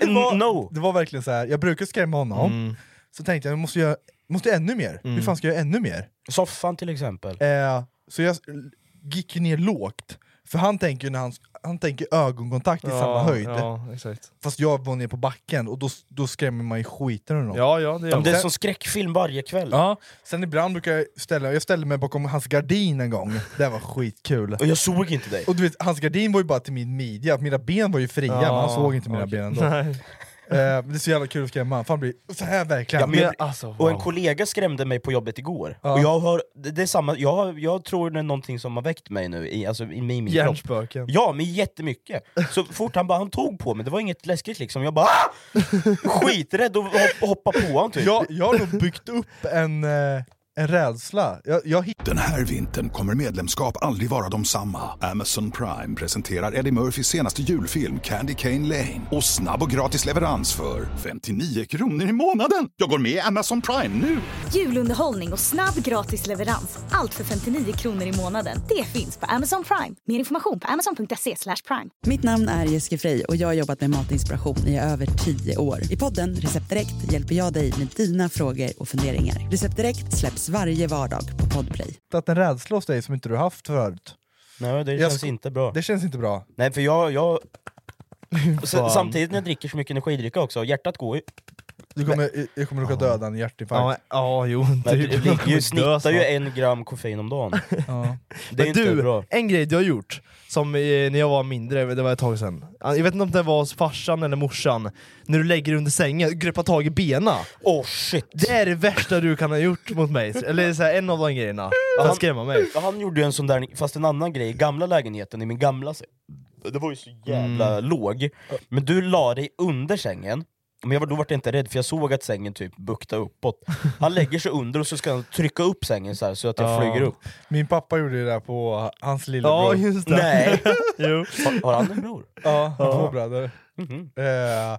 Speaker 5: det var,
Speaker 3: No. Mm.
Speaker 5: det var verkligen så här. jag brukar skrämma honom, så tänkte jag jag måste göra måste göra ännu mer, hur fan ska jag göra ännu mer?
Speaker 3: Soffan till exempel.
Speaker 5: Eh, så jag s- gick ju ner lågt, för han tänker ju när han, han tänker ögonkontakt i samma höjd.
Speaker 4: Ja, exakt.
Speaker 5: Fast jag var ner på backen och då, s- då skrämmer man ju skiten ur honom.
Speaker 4: Ja, ja det gör
Speaker 3: Ja, men Det är
Speaker 4: man.
Speaker 3: som skräckfilm varje kväll.
Speaker 5: Ja. Sen ibland brukar jag ställa, jag ställde mig bakom hans gardin en gång, det var skitkul.
Speaker 3: Och jag såg inte dig.
Speaker 5: Och du vet, hans gardin var ju bara till min midja, mina ben var ju fria
Speaker 4: Ja,
Speaker 5: men han såg inte mina ben ändå. Eh,
Speaker 4: Nej.
Speaker 5: men det är så jävla kul att skrämma honom, för han blir så här verkligen.
Speaker 3: Ja, men jag-
Speaker 4: Alltså,
Speaker 3: Och en
Speaker 4: wow.
Speaker 3: kollega skrämde mig på jobbet igår.
Speaker 5: Ja.
Speaker 3: Och jag, har, det det är samma, jag, har- jag tror det är någonting som har väckt mig nu, i, alltså i min, min kropp.
Speaker 4: Hjärnspöken.
Speaker 3: Ja, men jättemycket. Så fort han bara han tog på mig, det var inget läskigt liksom. Jag bara "Ah!" skiträdd och hopp, hoppa på honom typ.
Speaker 5: jag, jag har nog byggt upp en, eh, en rädsla. Jag, jag
Speaker 1: Den här vintern kommer medlemskap aldrig vara de samma. Amazon Prime presenterar Eddie Murphys senaste julfilm Candy Cane Lane. Och snabb och gratis leverans för 59 kronor i månaden. Jag går med i Amazon Prime nu!
Speaker 2: Julunderhållning och snabb gratis leverans. Allt för 59 kronor i månaden. Det finns på Amazon Prime. Mer information på amazon.se slash prime.
Speaker 8: Mitt namn är Jessica Frey och jag har jobbat med matinspiration i över 10 år. I podden Recept Direkt hjälper jag dig med dina frågor och funderingar. Recept Direkt släpps varje vardag på Podplay.
Speaker 5: hittat en rädsla hos dig som inte du haft förut.
Speaker 3: Nej, det
Speaker 5: Jag
Speaker 3: känns
Speaker 5: sko-
Speaker 3: inte bra.
Speaker 5: Det känns inte bra.
Speaker 3: Nej, för jag... jag... S- Samtidigt när jag dricker så mycket energidricka också, hjärtat går ju...
Speaker 5: Du kommer, jag kommer råka döda en hjärtinfarkt.
Speaker 4: Ja, men- ja, jo. typ.
Speaker 3: Men
Speaker 4: du-
Speaker 3: det
Speaker 4: du
Speaker 3: ligger
Speaker 4: kommer dö
Speaker 3: ju, snittar ju
Speaker 4: snart.
Speaker 3: en gram koffein om dagen.
Speaker 5: Ja.
Speaker 3: Det är
Speaker 4: Men
Speaker 3: inte
Speaker 4: du,
Speaker 3: bra.
Speaker 4: en grej du har gjort, som eh, när jag var mindre, det var ett tag sedan. Jag vet inte om det var hos farsan eller morsan, när du lägger dig under sängen, greppar tag i bena.
Speaker 3: Åh oh, shit!
Speaker 4: Det är det värsta du kan ha gjort mot mig, eller så här, en av de grejerna. För att skrämma mig.
Speaker 3: Ja, Han gjorde ju en sån där, fast en annan grej, i gamla lägenheten i min
Speaker 5: Mm.
Speaker 3: gamla säng. Det var ju så jävla låg. Men du la dig under sängen, Men jag var, då var jag inte rädd, för jag såg att sängen typ buktade uppåt. Han lägger sig under och så ska han trycka upp sängen så här så att jag
Speaker 5: Ja.
Speaker 3: flyger upp.
Speaker 5: Min pappa gjorde det där på hans
Speaker 3: Ja,
Speaker 5: lillebror.
Speaker 3: just det. Nej.
Speaker 5: jo.
Speaker 3: Har- har han en bror?
Speaker 5: Ja, han har
Speaker 9: Ja.
Speaker 5: två bröder. Eh,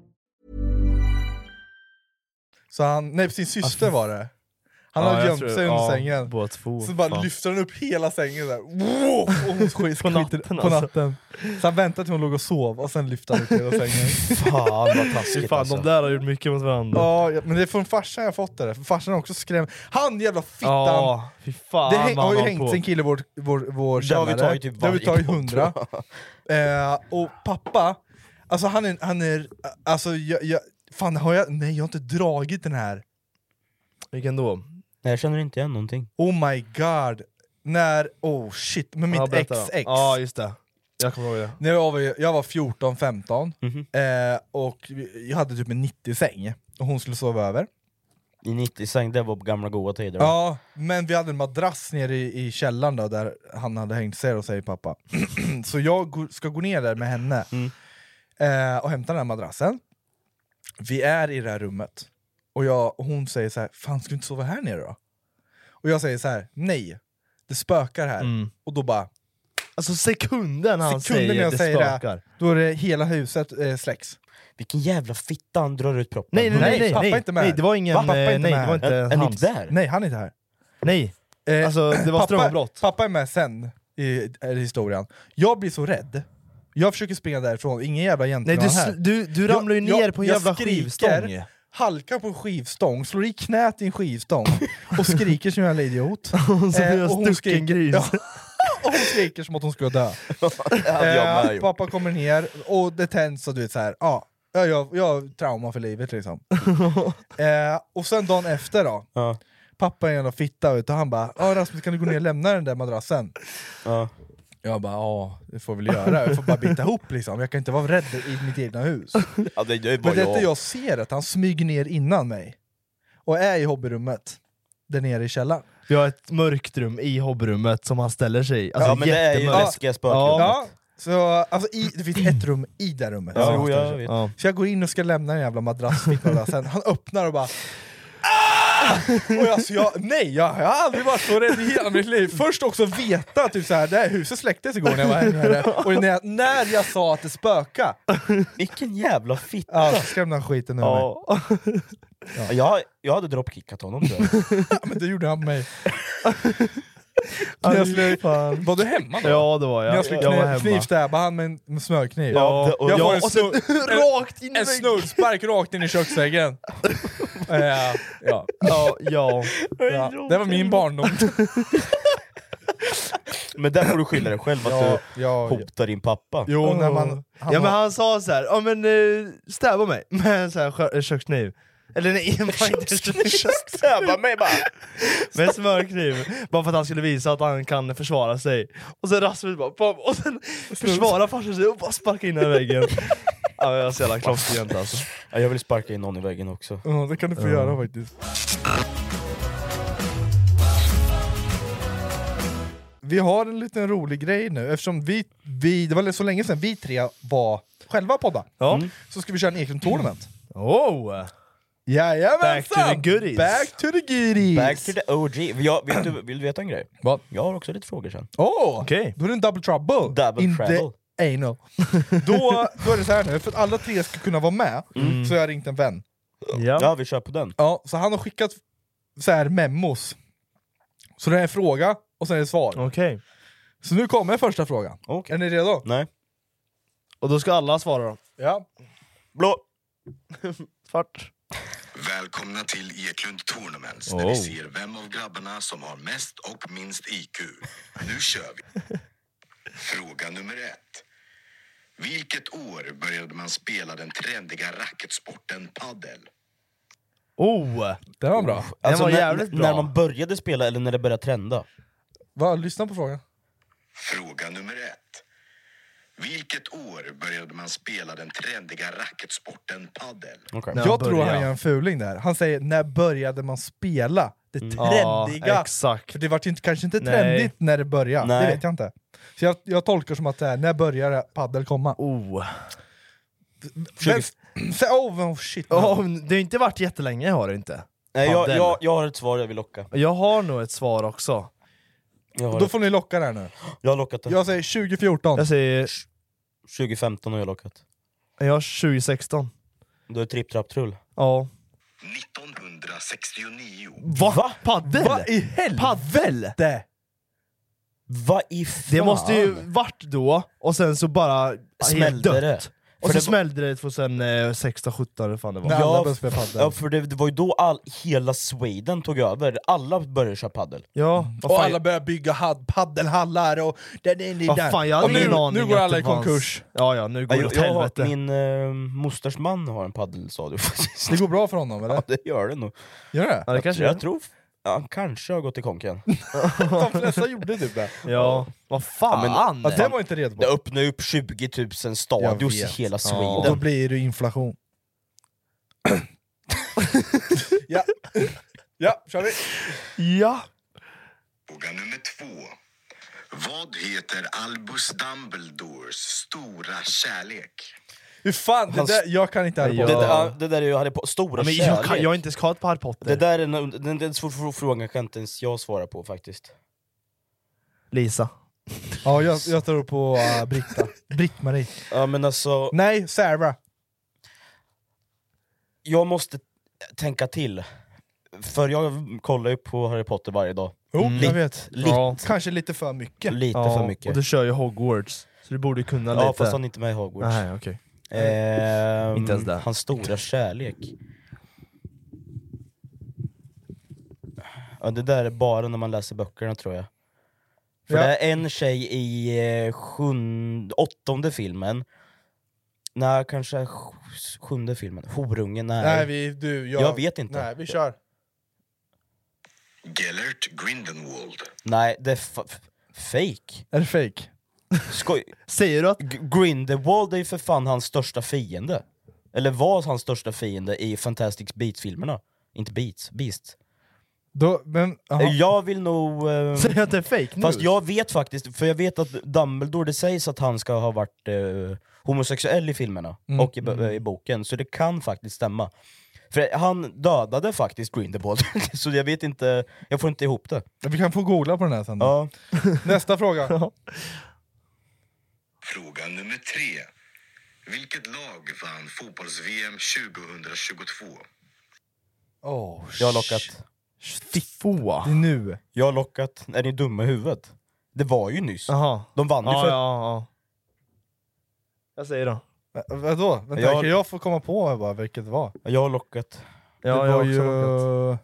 Speaker 5: Så han, nej sin syster var det. Han
Speaker 4: Ja,
Speaker 5: hade
Speaker 4: jag
Speaker 5: gömt
Speaker 4: tror-
Speaker 5: sig under
Speaker 4: ja,
Speaker 5: sängen.
Speaker 4: båda två,
Speaker 5: så bara
Speaker 4: Oh, fan.
Speaker 5: lyfter han upp hela sängen där. Wow! Och hon skiter, på natten. På
Speaker 4: alltså.
Speaker 5: natten. Så han väntade tills hon låg och sov och sen lyfte han upp hela sängen.
Speaker 4: Fan, vad taskigt, Fan, alltså. de där har gjort mycket mot varandra.
Speaker 5: Ja, ja, men det är från farsan jag fått det där. För Farsan har också skrämt. Han jävla fittan!
Speaker 4: Ja, fy fan
Speaker 5: det häng,
Speaker 4: vad
Speaker 5: har ju
Speaker 4: han
Speaker 5: hängt
Speaker 4: på.
Speaker 5: sin kille i vår, vår, vår
Speaker 4: Det har vi tagit typ
Speaker 5: Det har
Speaker 4: varje
Speaker 5: vi tagit
Speaker 4: gång,
Speaker 5: hundra.
Speaker 4: tror
Speaker 5: Eh, och pappa, alltså han är... Han är alltså jag, jag, fan har jag... Nej jag har inte dragit den här.
Speaker 4: Vilken då?
Speaker 3: Nej jag känner inte igen någonting.
Speaker 5: Oh my god. När... Oh shit, med mitt
Speaker 4: Ja,
Speaker 5: ex
Speaker 4: berätta då.
Speaker 5: ex.
Speaker 4: Ja, just det. Jag kommer ihåg det.
Speaker 5: När jag, var, jag var 14-15
Speaker 4: Mhm.
Speaker 5: eh, och vi- jag hade typ en 90-säng och hon skulle sova över.
Speaker 3: I 90-säng, det var på gamla goa tider.
Speaker 5: Ja, men vi hade en madrass nere i, i källaren då, där han hade hängt sig och säger pappa. så jag go- ska gå ner där med henne
Speaker 4: Mm.
Speaker 5: eh, och hämta den här madrassen. Vi är i det här rummet och, jag, och hon säger så här, fan ska du inte sova här nere då? Och jag säger så här, nej, det spökar här. Och då bara,
Speaker 4: Alltså sekunden Mm. han
Speaker 5: sekunden
Speaker 4: säger
Speaker 5: jag
Speaker 4: det
Speaker 5: säger det,
Speaker 4: spökar.
Speaker 5: då är det hela huset eh, släcks.
Speaker 3: Vilken jävla fitta han drar ut proppen.
Speaker 5: Nej, nej, nej, nej,
Speaker 3: Pappa är
Speaker 5: nej,
Speaker 3: inte med
Speaker 5: nej,
Speaker 3: här.
Speaker 5: det var ingen,
Speaker 3: Va? Pappa är
Speaker 5: eh,
Speaker 3: inte med här.
Speaker 5: nej, det var inte
Speaker 3: Är- är ni
Speaker 5: hans.
Speaker 3: inte där?
Speaker 5: Nej, han är inte här.
Speaker 4: Nej.
Speaker 5: Eh,
Speaker 4: Alltså, det var strömavbrott.
Speaker 5: Pappa, pappa är med sen i, i historien. Jag blir så rädd. Jag försöker springa därifrån, ingen jävla
Speaker 4: Nej,
Speaker 5: gentleman
Speaker 4: du,
Speaker 5: här.
Speaker 4: sl- du, du
Speaker 5: Jag-
Speaker 4: ramlar ju ner
Speaker 5: jag-
Speaker 4: på en
Speaker 5: jag
Speaker 4: jävla
Speaker 5: skriker,
Speaker 4: skivstång.
Speaker 5: halkar på en skivstång, slår i knät i en skivstång och skriker som en jävla idiot. Eh,
Speaker 4: Hon som en stucken gris.
Speaker 5: Ja. och hon skriker som att hon skulle dö.
Speaker 4: hade jag med
Speaker 5: Eh,
Speaker 4: gjort.
Speaker 5: pappa kommer ner och det tänds och du vet såhär, ja, jag, jag, jag har trauma för livet liksom. eh, och sen dagen efter då, pappa är en jävla fitta vet du, och han bara "Ja, Rasmus kan du gå ner och lämna den där madrassen? Jag bara ja, det får väl göra, jag får bara bita ihop liksom, jag kan inte vara rädd i mitt egna hus.
Speaker 3: Ja, det, det är bara
Speaker 5: Men det är
Speaker 3: jag.
Speaker 5: inte jag ser att han smyger ner innan mig och är i hobbyrummet, där nere i källaren.
Speaker 4: Vi har ett mörkt rum i hobbrummet som han ställer sig i. Alltså,
Speaker 5: Ja, men det är ju
Speaker 4: jättemörkt.
Speaker 5: läskiga
Speaker 4: Ja.
Speaker 5: Ja, så, alltså, i, det finns ett rum i det rummet.
Speaker 4: Ja,
Speaker 5: som
Speaker 4: jo,
Speaker 5: han
Speaker 4: jag
Speaker 5: ställer sig.
Speaker 4: vet. Ja.
Speaker 5: Så jag går in och ska lämna den jävla madrassen, sen han öppnar och bara "Ah!" och jag, så jag, nej, jag, jag har aldrig varit så rädd i hela mitt liv. Först också veta typ så här, det här huset släcktes igår när jag var här nere, och när jag, när jag sa att det spöka
Speaker 3: Vilken jävla fitta!
Speaker 5: Ja, så skrämde han skiten ur mig.
Speaker 3: Ja. Ja. Jag, jag hade droppkickat honom tror jag.
Speaker 5: Men det gjorde han med mig.
Speaker 4: Ja,
Speaker 5: När jag
Speaker 4: fy
Speaker 5: skulle,
Speaker 4: fan.
Speaker 5: var du hemma då?
Speaker 4: Ja, det var jag.
Speaker 5: När jag skulle
Speaker 4: Jag var
Speaker 5: kniv,
Speaker 4: hemma.
Speaker 5: knivstäba han med en med smörkniv.
Speaker 4: Ja, det- och
Speaker 5: jag
Speaker 4: jag-
Speaker 5: får en,
Speaker 4: och sen
Speaker 5: snurr,
Speaker 4: rakt in i
Speaker 5: en
Speaker 4: väggen.
Speaker 5: snurrspark rakt in i köksväggen. Eh, ja.
Speaker 4: Ja, ja.
Speaker 5: Ja, Det var min barndom.
Speaker 3: Men där får du skylla dig själv att
Speaker 4: Ja,
Speaker 3: du
Speaker 5: ja,
Speaker 3: hotar din pappa.
Speaker 4: Jo, när man, ja men han sa så här, ja men eh, stäva mig med en sån här skö- eh, kökskniv. Eller nej, en
Speaker 3: Stäva mig bara!
Speaker 4: Med en smörkniv, bara för att han skulle visa att han kan försvara sig. Och sen Rasmus Alltså, bara, bam, och sen försvarar farsan sig och bara sparkar in den i väggen. ja, men jag är så jävla klockrent alltså.
Speaker 3: Ja, jag vill sparka in någon i väggen också.
Speaker 5: Ja, det kan du få göra faktiskt. Vi har en liten rolig grej nu, eftersom vi, vi det var så länge sedan vi tre var själva podda.
Speaker 3: Mm.
Speaker 5: Så ska vi köra en egen tournament.
Speaker 4: Oh!
Speaker 5: Jajamensan!
Speaker 3: Back to the goodies.
Speaker 5: Back to the goodies!
Speaker 3: Back to the OG. Jag, vet du, vill du veta en grej? Jag har också lite frågor sen.
Speaker 5: Åh! Oh, Då är det en double trouble.
Speaker 3: Double
Speaker 5: In
Speaker 3: trouble.
Speaker 5: the anal. Då, då är det så här nu, för att alla tre ska kunna vara med,
Speaker 3: Mm.
Speaker 5: så har jag ringt en vän.
Speaker 3: Ja. ja, vi kör på den.
Speaker 5: Ja, så han har skickat så här memos. Så det är en fråga och sen är det svar.
Speaker 4: Okej.
Speaker 5: Så nu kommer första frågan. Är ni redo?
Speaker 3: Nej.
Speaker 4: Och då ska alla svara då?
Speaker 5: Ja.
Speaker 3: Blå.
Speaker 4: Svart.
Speaker 10: Välkomna till Eklund Tournaments där
Speaker 4: Oh.
Speaker 10: vi ser vem av grabbarna som har mest och minst IQ. Nu kör vi! Fråga nummer ett. Vilket år började man spela den trendiga racketsporten paddel?
Speaker 4: Oh!
Speaker 5: Den var bra. Alltså,
Speaker 10: Den var jävligt
Speaker 3: Alltså, när,
Speaker 10: bra.
Speaker 3: När man började spela eller när det började trenda.
Speaker 5: Va, lyssna på frågan.
Speaker 10: Fråga nummer ett. Vilket år började man spela den trendiga racketsporten paddel?
Speaker 5: Jag tror han gör en fuling där. Han säger när började man spela det trendiga?
Speaker 4: Ja, exakt.
Speaker 5: För det var inte, kanske inte
Speaker 4: Nej.
Speaker 5: trendigt när det började,
Speaker 4: Nej.
Speaker 5: det vet jag inte. Så jag, jag tolkar som att det är när började padel komma?
Speaker 4: Oh.
Speaker 5: Men, så, oh, oh shit.
Speaker 4: Oh, det har inte varit jättelänge har det inte.
Speaker 3: Nej, jag,
Speaker 4: Padel.
Speaker 3: jag, jag har ett svar jag vill locka.
Speaker 4: Jag har nog ett svar också.
Speaker 3: Jag har
Speaker 5: Då
Speaker 3: ett-
Speaker 5: får ni locka det här nu.
Speaker 3: Jag har lockat det.
Speaker 5: Jag säger 2014.
Speaker 4: Jag säger...
Speaker 3: 2015 har jag lockat.
Speaker 4: Jag har 2016.
Speaker 3: Då är det tripp, trapp, trull.
Speaker 4: Ja.
Speaker 10: 1969.
Speaker 4: Va? Paddel?
Speaker 10: Vad
Speaker 4: i helvete? Paddel?
Speaker 3: Vad i fan?
Speaker 4: Det måste ju vart då, och sen så bara
Speaker 3: Smällde
Speaker 4: helt dött.
Speaker 3: det.
Speaker 4: Och
Speaker 3: För det
Speaker 4: så
Speaker 3: var-
Speaker 4: smällde det 2016, 17 eller fan det var.
Speaker 3: ja, för det, det var ju då all, hela Sweden tog över. Alla började köra paddel.
Speaker 4: Ja,
Speaker 3: vad fan-
Speaker 5: och alla börjar bygga had- paddelhallar och... Den, den, den,
Speaker 3: Vad fan, jag hade
Speaker 5: och nu,
Speaker 3: ingen aning
Speaker 5: nu går
Speaker 3: att
Speaker 5: alla
Speaker 3: det
Speaker 5: i konkurs.
Speaker 3: fanns.
Speaker 4: Ja, ja, nu
Speaker 5: går det
Speaker 3: jag,
Speaker 5: åt
Speaker 3: jag har,
Speaker 5: helvete.
Speaker 3: Min eh, mosters man har en paddelstadion faktiskt.
Speaker 5: Det går bra för honom eller?
Speaker 3: Ja, det gör det nog.
Speaker 5: Gör det?
Speaker 3: jag, tror- jag tror... Ja, han kanske har gått i konken.
Speaker 5: De flesta gjorde typ det.
Speaker 4: Ja, vad fan!
Speaker 3: Ja, men-
Speaker 5: Ja, det var inte redo på.
Speaker 3: Det öppnar ju upp 20 000 stadios i
Speaker 5: Jag vet.
Speaker 3: hela
Speaker 5: Ja. Då
Speaker 3: Sweden.
Speaker 5: blir det inflation. ja. ja, kör vi!
Speaker 4: Ja.
Speaker 10: Fråga nummer två. Vad heter Albus Dumbledores stora kärlek?
Speaker 5: Hur fan, det
Speaker 3: Hans-
Speaker 5: där, jag kan inte Harry
Speaker 3: det,
Speaker 5: Potter.
Speaker 3: där, ja, det där är ju Harry Potter, stora
Speaker 4: Men jag,
Speaker 3: kärlek.
Speaker 4: kan, jag har inte ens kollat på Harry Potter.
Speaker 3: Det där är en, den, den, den svår, svår frågan kan inte ens jag svara på faktiskt.
Speaker 4: Lisa.
Speaker 5: Ja, jag, jag tror på uh, Britta. Britt-Marie.
Speaker 3: Ja men alltså,
Speaker 5: Nej, Sarah.
Speaker 3: jag måste tänka till. För jag kollar ju på Harry Potter varje dag.
Speaker 5: Jo,
Speaker 3: Mm.
Speaker 5: jag
Speaker 3: Lite-
Speaker 5: vet.
Speaker 3: lite.
Speaker 5: Kanske lite för mycket.
Speaker 3: Lite
Speaker 4: Ja,
Speaker 3: för mycket.
Speaker 4: Och du kör ju Hogwarts, så du borde kunna
Speaker 3: Ja
Speaker 4: lite.
Speaker 3: fast han är inte med i Hogwarts.
Speaker 4: Nej, okej.
Speaker 3: Ehm,
Speaker 4: Inte ens det.
Speaker 3: Hans stora kärlek. Ja, det där är bara när man läser böckerna tror jag. För
Speaker 4: Ja.
Speaker 3: det är en tjej i eh, sjunde, åttonde filmen, nej kanske sj- sjunde filmen, Horungen, nej.
Speaker 5: Nej, vi, du, jag,
Speaker 3: Jag vet inte.
Speaker 5: Nej, vi kör.
Speaker 10: Gellert Grindelwald.
Speaker 3: Nej, det är fa- f- fake.
Speaker 5: Är det fake?
Speaker 3: Skoj.
Speaker 4: Säger du att...
Speaker 3: Grindelwald är ju för fan hans största fiende. Eller var hans största fiende i Fantastic Beasts-filmerna. Inte Beats, Beasts.
Speaker 5: Då, men, aha.
Speaker 3: Jag vill nog... Eh,
Speaker 4: Säger att det är fake news?
Speaker 3: Fast jag vet faktiskt, för jag vet att Dumbledore, det sägs att han ska ha varit eh, homosexuell i filmerna
Speaker 4: Mm.
Speaker 3: och i, bo- eh, i boken, så det kan faktiskt stämma. För han dödade faktiskt Grindelwald, så jag vet inte, jag får inte ihop det.
Speaker 5: Vi kan få googla på den här sen. då.
Speaker 3: Ja.
Speaker 5: Nästa fråga.
Speaker 10: Fråga nummer tre. Vilket lag vann fotbolls-VM 2022?
Speaker 5: Oh,
Speaker 3: Jag har lockat.
Speaker 4: Få.
Speaker 5: Det är nu.
Speaker 3: Jag har lockat. Är ni dumma i huvudet? Det var ju nyss.
Speaker 4: Aha.
Speaker 3: De vann ju
Speaker 4: Ja,
Speaker 3: för...
Speaker 4: ja, ja. Jag säger då.
Speaker 5: Ä- Vadå? Vänta,
Speaker 3: Jag-
Speaker 5: Kan jag få komma på vad, vilket det var?
Speaker 3: Jag har lockat.
Speaker 4: Ja,
Speaker 5: det
Speaker 4: jag
Speaker 5: var
Speaker 4: har också
Speaker 3: Uh.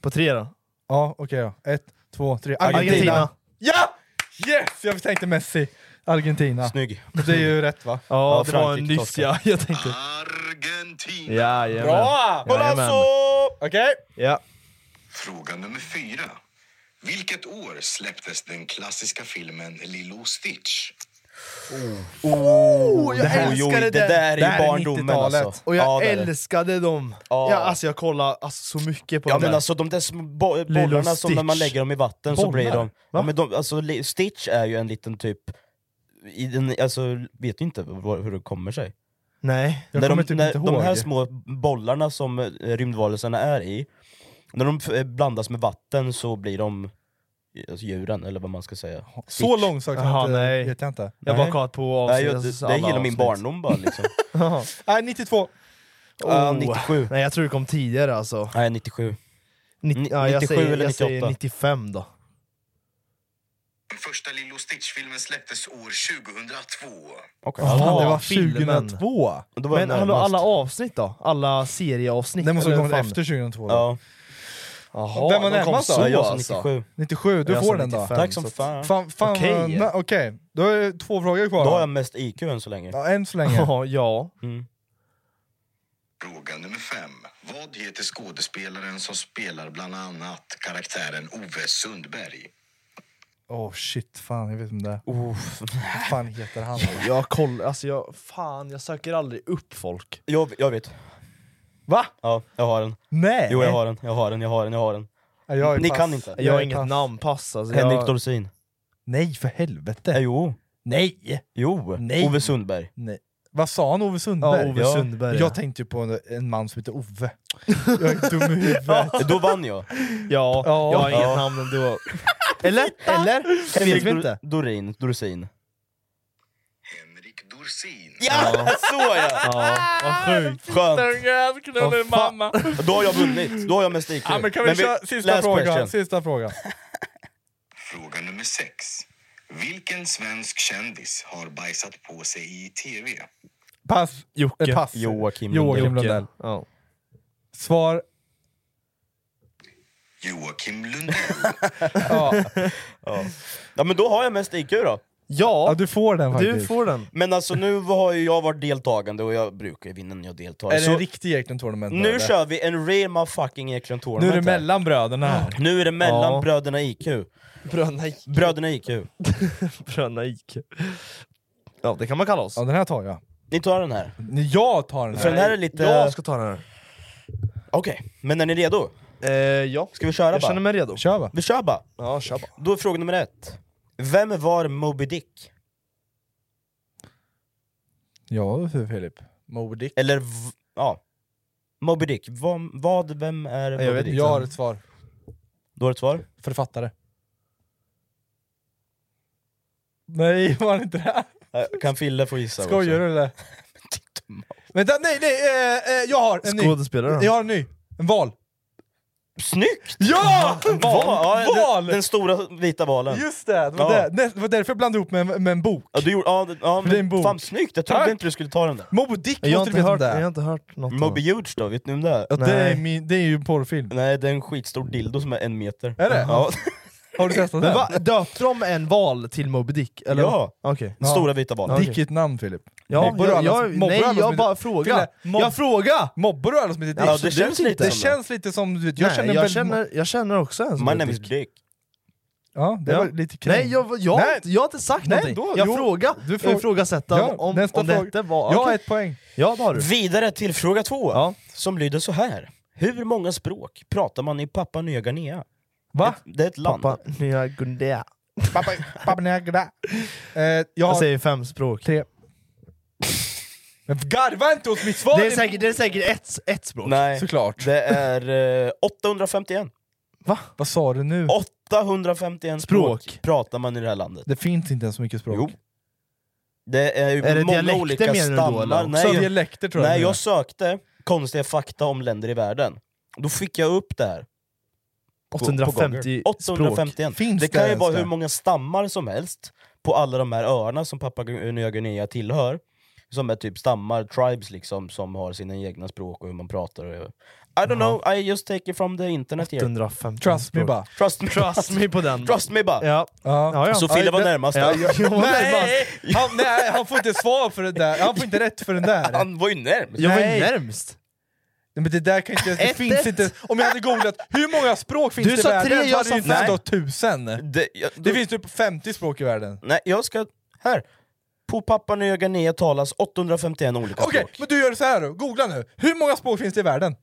Speaker 4: På tre då?
Speaker 5: Ja, okej då. Ett, två, tre.
Speaker 4: Argentina.
Speaker 5: Ja! Yes! Jag tänkte Messi. Argentina.
Speaker 3: Snygg.
Speaker 5: Det är ju rätt va?
Speaker 4: Ja, det var en
Speaker 5: Frankrike
Speaker 4: nyss
Speaker 5: torskade.
Speaker 4: ja, jag tänkte. Argentina! Jajamän.
Speaker 5: Bra! alltså!
Speaker 4: Jajamän.
Speaker 5: Okej.
Speaker 4: Ja.
Speaker 10: Fråga nummer fyra. Vilket år släpptes den klassiska filmen Lilo och Stitch?
Speaker 4: Oh,
Speaker 3: det här- oj, det där är ju barndomen,
Speaker 4: 90-talet.
Speaker 3: alltså.
Speaker 4: Och jag
Speaker 3: Ja, det är det.
Speaker 4: älskade dem!
Speaker 3: Ja.
Speaker 4: Ja, alltså jag kollade alltså, så mycket på
Speaker 3: Ja
Speaker 4: dem.
Speaker 3: men
Speaker 4: där.
Speaker 3: alltså de där små bo-
Speaker 4: Lilo
Speaker 3: bollarna som när man
Speaker 4: Stitch.
Speaker 3: lägger dem i vatten så
Speaker 4: Bollar?
Speaker 3: blir de... Ja,
Speaker 4: Va?
Speaker 3: men de alltså, li- Stitch är ju en liten typ... I den, alltså, vet ju inte vad- hur det kommer sig.
Speaker 4: Nej, jag
Speaker 3: när
Speaker 4: kommer
Speaker 3: de,
Speaker 4: typ
Speaker 3: när
Speaker 4: inte
Speaker 3: de här
Speaker 4: ihåg.
Speaker 3: små bollarna som eh, rymdvarelserna är i, när de eh, blandas med vatten så blir de alltså djuren, eller vad man ska säga.
Speaker 5: Så långsökt har jag
Speaker 3: Jaha,
Speaker 5: inte-
Speaker 3: nej.
Speaker 5: vet jag inte.
Speaker 3: Jag har bara kollat på
Speaker 5: Nej,
Speaker 3: avsnitt-
Speaker 5: jag-
Speaker 3: alla avsnitt. bara liksom.
Speaker 5: Nej, 92.
Speaker 3: Ja, 97.
Speaker 4: Oh. Nej jag tror det kom tidigare alltså.
Speaker 3: Nej 97.
Speaker 4: Ni, ja, jag
Speaker 3: 97
Speaker 4: säger,
Speaker 3: eller
Speaker 4: jag säger
Speaker 3: 98.
Speaker 4: 95 då.
Speaker 10: Den första Lilo Stitch-filmen släpptes år 2002.
Speaker 3: Okay.
Speaker 5: det var 2002.
Speaker 3: Då var jag
Speaker 4: Men hallå,
Speaker 3: närmast.
Speaker 4: alla avsnitt då? Alla serieavsnitt?
Speaker 5: Den måste ha
Speaker 4: eller
Speaker 5: kommit
Speaker 4: fan?
Speaker 5: efter 2002 då.
Speaker 3: Ja.
Speaker 4: Jaha,
Speaker 5: Vem var
Speaker 4: de kom
Speaker 5: närmast då?
Speaker 4: så
Speaker 5: Jag sa
Speaker 4: alltså.
Speaker 5: 97. 97, du
Speaker 4: Jag
Speaker 3: Alltså,
Speaker 5: får
Speaker 4: sa
Speaker 5: den då.
Speaker 4: 95,
Speaker 5: Tack som
Speaker 4: så att-
Speaker 5: fan. Fan- fan,
Speaker 4: Okej.
Speaker 5: na- okej. Då är det två frågor kvar.
Speaker 3: Då har jag mest IQ än så länge.
Speaker 5: Ja, än så länge.
Speaker 4: Ja, ja.
Speaker 3: Mm.
Speaker 10: Fråga nummer fem. Vad heter skådespelaren som spelar bland annat karaktären Ove Sundberg?
Speaker 5: Åh shit, fan jag vet om det är. Vad fan heter han?
Speaker 4: Jag kollar, alltså jag, fan jag söker aldrig upp folk.
Speaker 3: Jag, jag vet.
Speaker 4: Va?
Speaker 3: Ja, jag har den.
Speaker 5: Nej!
Speaker 3: Jo jag har den, jag har den, jag har den, jag har den.
Speaker 5: Ja, jag är
Speaker 3: Ni
Speaker 5: pass.
Speaker 3: kan inte.
Speaker 5: Jag är pass.
Speaker 4: namnpass alltså.
Speaker 3: Henrik
Speaker 4: jag-
Speaker 3: Dorsin.
Speaker 5: Nej för helvete!
Speaker 3: Eh, jo!
Speaker 5: Nej!
Speaker 3: Jo!
Speaker 5: Nej.
Speaker 3: Ove Sundberg.
Speaker 5: Nej. Vad sa han? Ove Sundberg?
Speaker 3: Ja, Ove Ja. Sundberg, ja.
Speaker 5: Jag tänkte ju på en, en man som heter Ove. Jag är dum i huvudet.
Speaker 3: Eh, Då vann jag.
Speaker 4: Ja,
Speaker 5: Ja.
Speaker 4: jag har inget
Speaker 5: Ja.
Speaker 4: namn ändå. Eller? Eller? Det vet
Speaker 3: Henrik
Speaker 4: vi
Speaker 3: Dor-
Speaker 4: inte.
Speaker 3: Dorin, Dorsin.
Speaker 10: Dorsin.
Speaker 3: Ja, så ja!
Speaker 4: ja vad sjukt.
Speaker 3: Skönt.
Speaker 5: Knullar mamma.
Speaker 3: Då har jag vunnit, då har jag mest IQ.
Speaker 5: Ja, men kan vi köra sista
Speaker 3: last
Speaker 5: frågan?
Speaker 3: question.
Speaker 5: Sista frågan.
Speaker 10: Fråga nummer sex. Vilken svensk kändis har bajsat på sig i tv?
Speaker 5: Pass.
Speaker 4: Jocke.
Speaker 5: Eh, Pass.
Speaker 3: Joakim
Speaker 5: Joakim
Speaker 4: Jocke.
Speaker 5: Lundell.
Speaker 4: Ja.
Speaker 5: Svar.
Speaker 10: Joakim Lundell.
Speaker 5: Ja.
Speaker 3: Ja. ja men då har jag mest IQ då.
Speaker 5: ja, du får den faktiskt.
Speaker 4: Du får den.
Speaker 3: Men alltså nu har ju jag varit deltagande och jag brukar ju vinna när jag deltar.
Speaker 5: Är det
Speaker 3: Så
Speaker 5: en riktig Ekton Tournament?
Speaker 3: nu
Speaker 5: eller?
Speaker 3: kör vi en real fucking Eklund
Speaker 5: Nu är det
Speaker 3: Tournament här.
Speaker 5: mellan bröderna här.
Speaker 3: Nu är det mellan
Speaker 4: Ja.
Speaker 3: bröderna IQ.
Speaker 4: Bröderna IQ.
Speaker 3: Bröderna IQ.
Speaker 4: Bröderna IQ. Ja det kan man kalla oss.
Speaker 5: Ja, den här tar jag.
Speaker 3: Ni tar den här.
Speaker 5: Jag tar den
Speaker 3: För
Speaker 5: här.
Speaker 3: den här är lite...
Speaker 4: Jag ska ta den här.
Speaker 3: Okej, men är ni redo?
Speaker 4: Eh, ja,
Speaker 3: Ska vi köra
Speaker 4: jag känner
Speaker 3: bara?
Speaker 4: mig redo.
Speaker 5: Kör va?
Speaker 3: Vi kör bara!
Speaker 4: Ja, kör bara.
Speaker 3: Då är fråga nummer ett. Vem var Moby Dick?
Speaker 5: Ja, för Filip. Moby Dick.
Speaker 3: Eller, v- ja. Moby Dick. Vad, vad vem är Moby
Speaker 5: Jag, vet,
Speaker 3: Dick?
Speaker 5: jag har ett svar.
Speaker 3: Du har ett svar?
Speaker 5: Författare. Nej, var det inte det?
Speaker 3: Eh, Kan Fille få gissa? också?
Speaker 5: Skojar du eller? Vänta, nej, nej, eh, eh, jag har en ny.
Speaker 4: Skådespelare
Speaker 5: Jag
Speaker 4: då?
Speaker 5: har en ny. En val.
Speaker 3: Snyggt!
Speaker 5: Ja!
Speaker 3: Val! Ja, den-
Speaker 5: Val!
Speaker 3: Den stora vita valen.
Speaker 5: Just det, det var,
Speaker 3: Ja.
Speaker 5: det. Nä- det var därför jag blandade ihop med, en- med en bok.
Speaker 3: Ja, du gjorde, ja, det- ja,
Speaker 5: det är en
Speaker 3: men,
Speaker 5: bok.
Speaker 3: fan snyggt, jag trodde
Speaker 5: Tack.
Speaker 3: inte du skulle ta den där.
Speaker 5: Moby Dick
Speaker 4: Jag har,
Speaker 5: måste du
Speaker 4: inte
Speaker 5: veta om
Speaker 4: hört,
Speaker 5: det
Speaker 4: jag har
Speaker 5: är.
Speaker 4: inte hört något. om
Speaker 3: Moby
Speaker 4: det.
Speaker 3: Hughes då, vet ni om det är?
Speaker 5: Ja, det, är
Speaker 4: Nej.
Speaker 5: min, det är ju en porrfilm.
Speaker 3: Nej, det är en skitstor dildo som är en meter.
Speaker 5: Är det?
Speaker 3: Ja,
Speaker 5: Har du testat
Speaker 4: Men
Speaker 5: den?
Speaker 4: va, döpte de en val till Moby Dick? Eller?
Speaker 3: Ja.
Speaker 4: Okej.
Speaker 3: den stora vita
Speaker 5: Ja,
Speaker 3: valen.
Speaker 5: Dick är ett namn Filip.
Speaker 4: Ja,
Speaker 5: Mobbar du
Speaker 4: jag,
Speaker 5: alla
Speaker 4: jag,
Speaker 5: som- mobbar du
Speaker 4: nej,
Speaker 5: alla som
Speaker 4: jag
Speaker 5: heter-
Speaker 4: bara fråga.
Speaker 5: Fille, mobb-
Speaker 4: Jag fråga!
Speaker 5: Mobbar du alla som heter Dick?
Speaker 3: Ja, det känns lite
Speaker 5: Det
Speaker 3: som
Speaker 5: känns lite som, du vet, jag
Speaker 4: Jag, nej,
Speaker 5: känner
Speaker 4: känner jag,
Speaker 5: väldigt
Speaker 4: känner, jag känner också en som typ-
Speaker 3: My
Speaker 4: heter
Speaker 3: name is
Speaker 4: Dick.
Speaker 3: Dick.
Speaker 5: Ja, det
Speaker 4: Ja.
Speaker 5: var lite kring.
Speaker 4: Nej, jag, jag, har
Speaker 5: Nej.
Speaker 4: inte- jag har inte sagt
Speaker 5: Nej,
Speaker 4: någonting.
Speaker 5: då-
Speaker 4: jag
Speaker 5: jo,
Speaker 4: fråga.
Speaker 5: du
Speaker 4: jag
Speaker 5: frågar.
Speaker 4: ifrågasätter
Speaker 5: Ja,
Speaker 4: om,
Speaker 5: nästa
Speaker 4: om
Speaker 5: fråga.
Speaker 4: detta var...
Speaker 5: Jag har
Speaker 4: okej.
Speaker 5: ett poäng.
Speaker 4: ja, det har du.
Speaker 3: Vidare till fråga två,
Speaker 4: Ja.
Speaker 3: som lyder så här. Hur många språk pratar man i Papua Nya Guinea?
Speaker 5: Va?
Speaker 3: Ett, det är ett land.
Speaker 4: Pappa, Nya Guinea.
Speaker 5: Pappa, pappa när jag glä- eh, Jag
Speaker 4: Jag
Speaker 5: har
Speaker 4: säger fem språk.
Speaker 5: tre. Men garva inte åt mitt svar!
Speaker 4: Det är säkert, det är säkert ett, ett språk.
Speaker 3: Nej,
Speaker 5: Såklart.
Speaker 3: det är eh, 851.
Speaker 5: Va? Vad sa du nu?
Speaker 3: 851 språk.
Speaker 4: Språk.
Speaker 3: pratar man i det här landet.
Speaker 5: Det finns inte ens så mycket språk.
Speaker 3: Jo. Det är ju
Speaker 4: Är det
Speaker 3: många
Speaker 4: dialekter
Speaker 3: olika
Speaker 4: menar du då,
Speaker 3: stammar.
Speaker 4: eller?
Speaker 5: så
Speaker 3: nej, jag,
Speaker 5: dialekter tror jag
Speaker 3: nej,
Speaker 5: nu är.
Speaker 3: jag sökte konstiga fakta om länder i världen. Då fick jag upp det här. på- på Google.
Speaker 4: 850 språk.
Speaker 3: 851.
Speaker 5: Finns
Speaker 3: det
Speaker 5: det
Speaker 3: kan ju
Speaker 5: ens
Speaker 3: vara
Speaker 5: där?
Speaker 3: hur många stammar som helst på alla de här öarna som Papua Nya Guinea tillhör. Som är typ stammar, tribes liksom, som har sina egna språk och hur man pratar. Och, I don't know, I just take it from the internet here.
Speaker 4: 850
Speaker 5: Trust me
Speaker 4: språk.
Speaker 5: bara.
Speaker 3: Trust me,
Speaker 4: Trust me på den.
Speaker 3: Trust me bara!
Speaker 4: Ja.
Speaker 5: Ja.
Speaker 4: Ja, ja.
Speaker 3: Så Fille var
Speaker 5: det-
Speaker 3: närmast
Speaker 4: Ja,
Speaker 3: där.
Speaker 4: jag- jag var
Speaker 5: Nej!
Speaker 4: närmast.
Speaker 5: Han, nej, han får inte svar för den där, han får inte rätt för den där.
Speaker 3: Han var ju närmast!
Speaker 4: Jag var ju
Speaker 5: Nej.
Speaker 4: närmst.
Speaker 5: Nej, Men det där kan inte, det
Speaker 4: Ett,
Speaker 5: finns
Speaker 4: ett.
Speaker 5: inte. Om jag hade googlat hur många språk finns
Speaker 4: Du
Speaker 5: det i
Speaker 4: sa
Speaker 5: världen
Speaker 4: tre, jag
Speaker 5: så hade
Speaker 4: sa
Speaker 5: jag inte ens
Speaker 4: fem.
Speaker 5: sagt tusen.
Speaker 3: Det, jag,
Speaker 5: Det finns typ 50 språk i världen.
Speaker 3: Nej, jag ska... Här! På Papua Nya Guinea talas 851 olika
Speaker 5: Okej,
Speaker 3: språk.
Speaker 5: men du gör så här då. Googla nu. Hur många språk finns det i världen?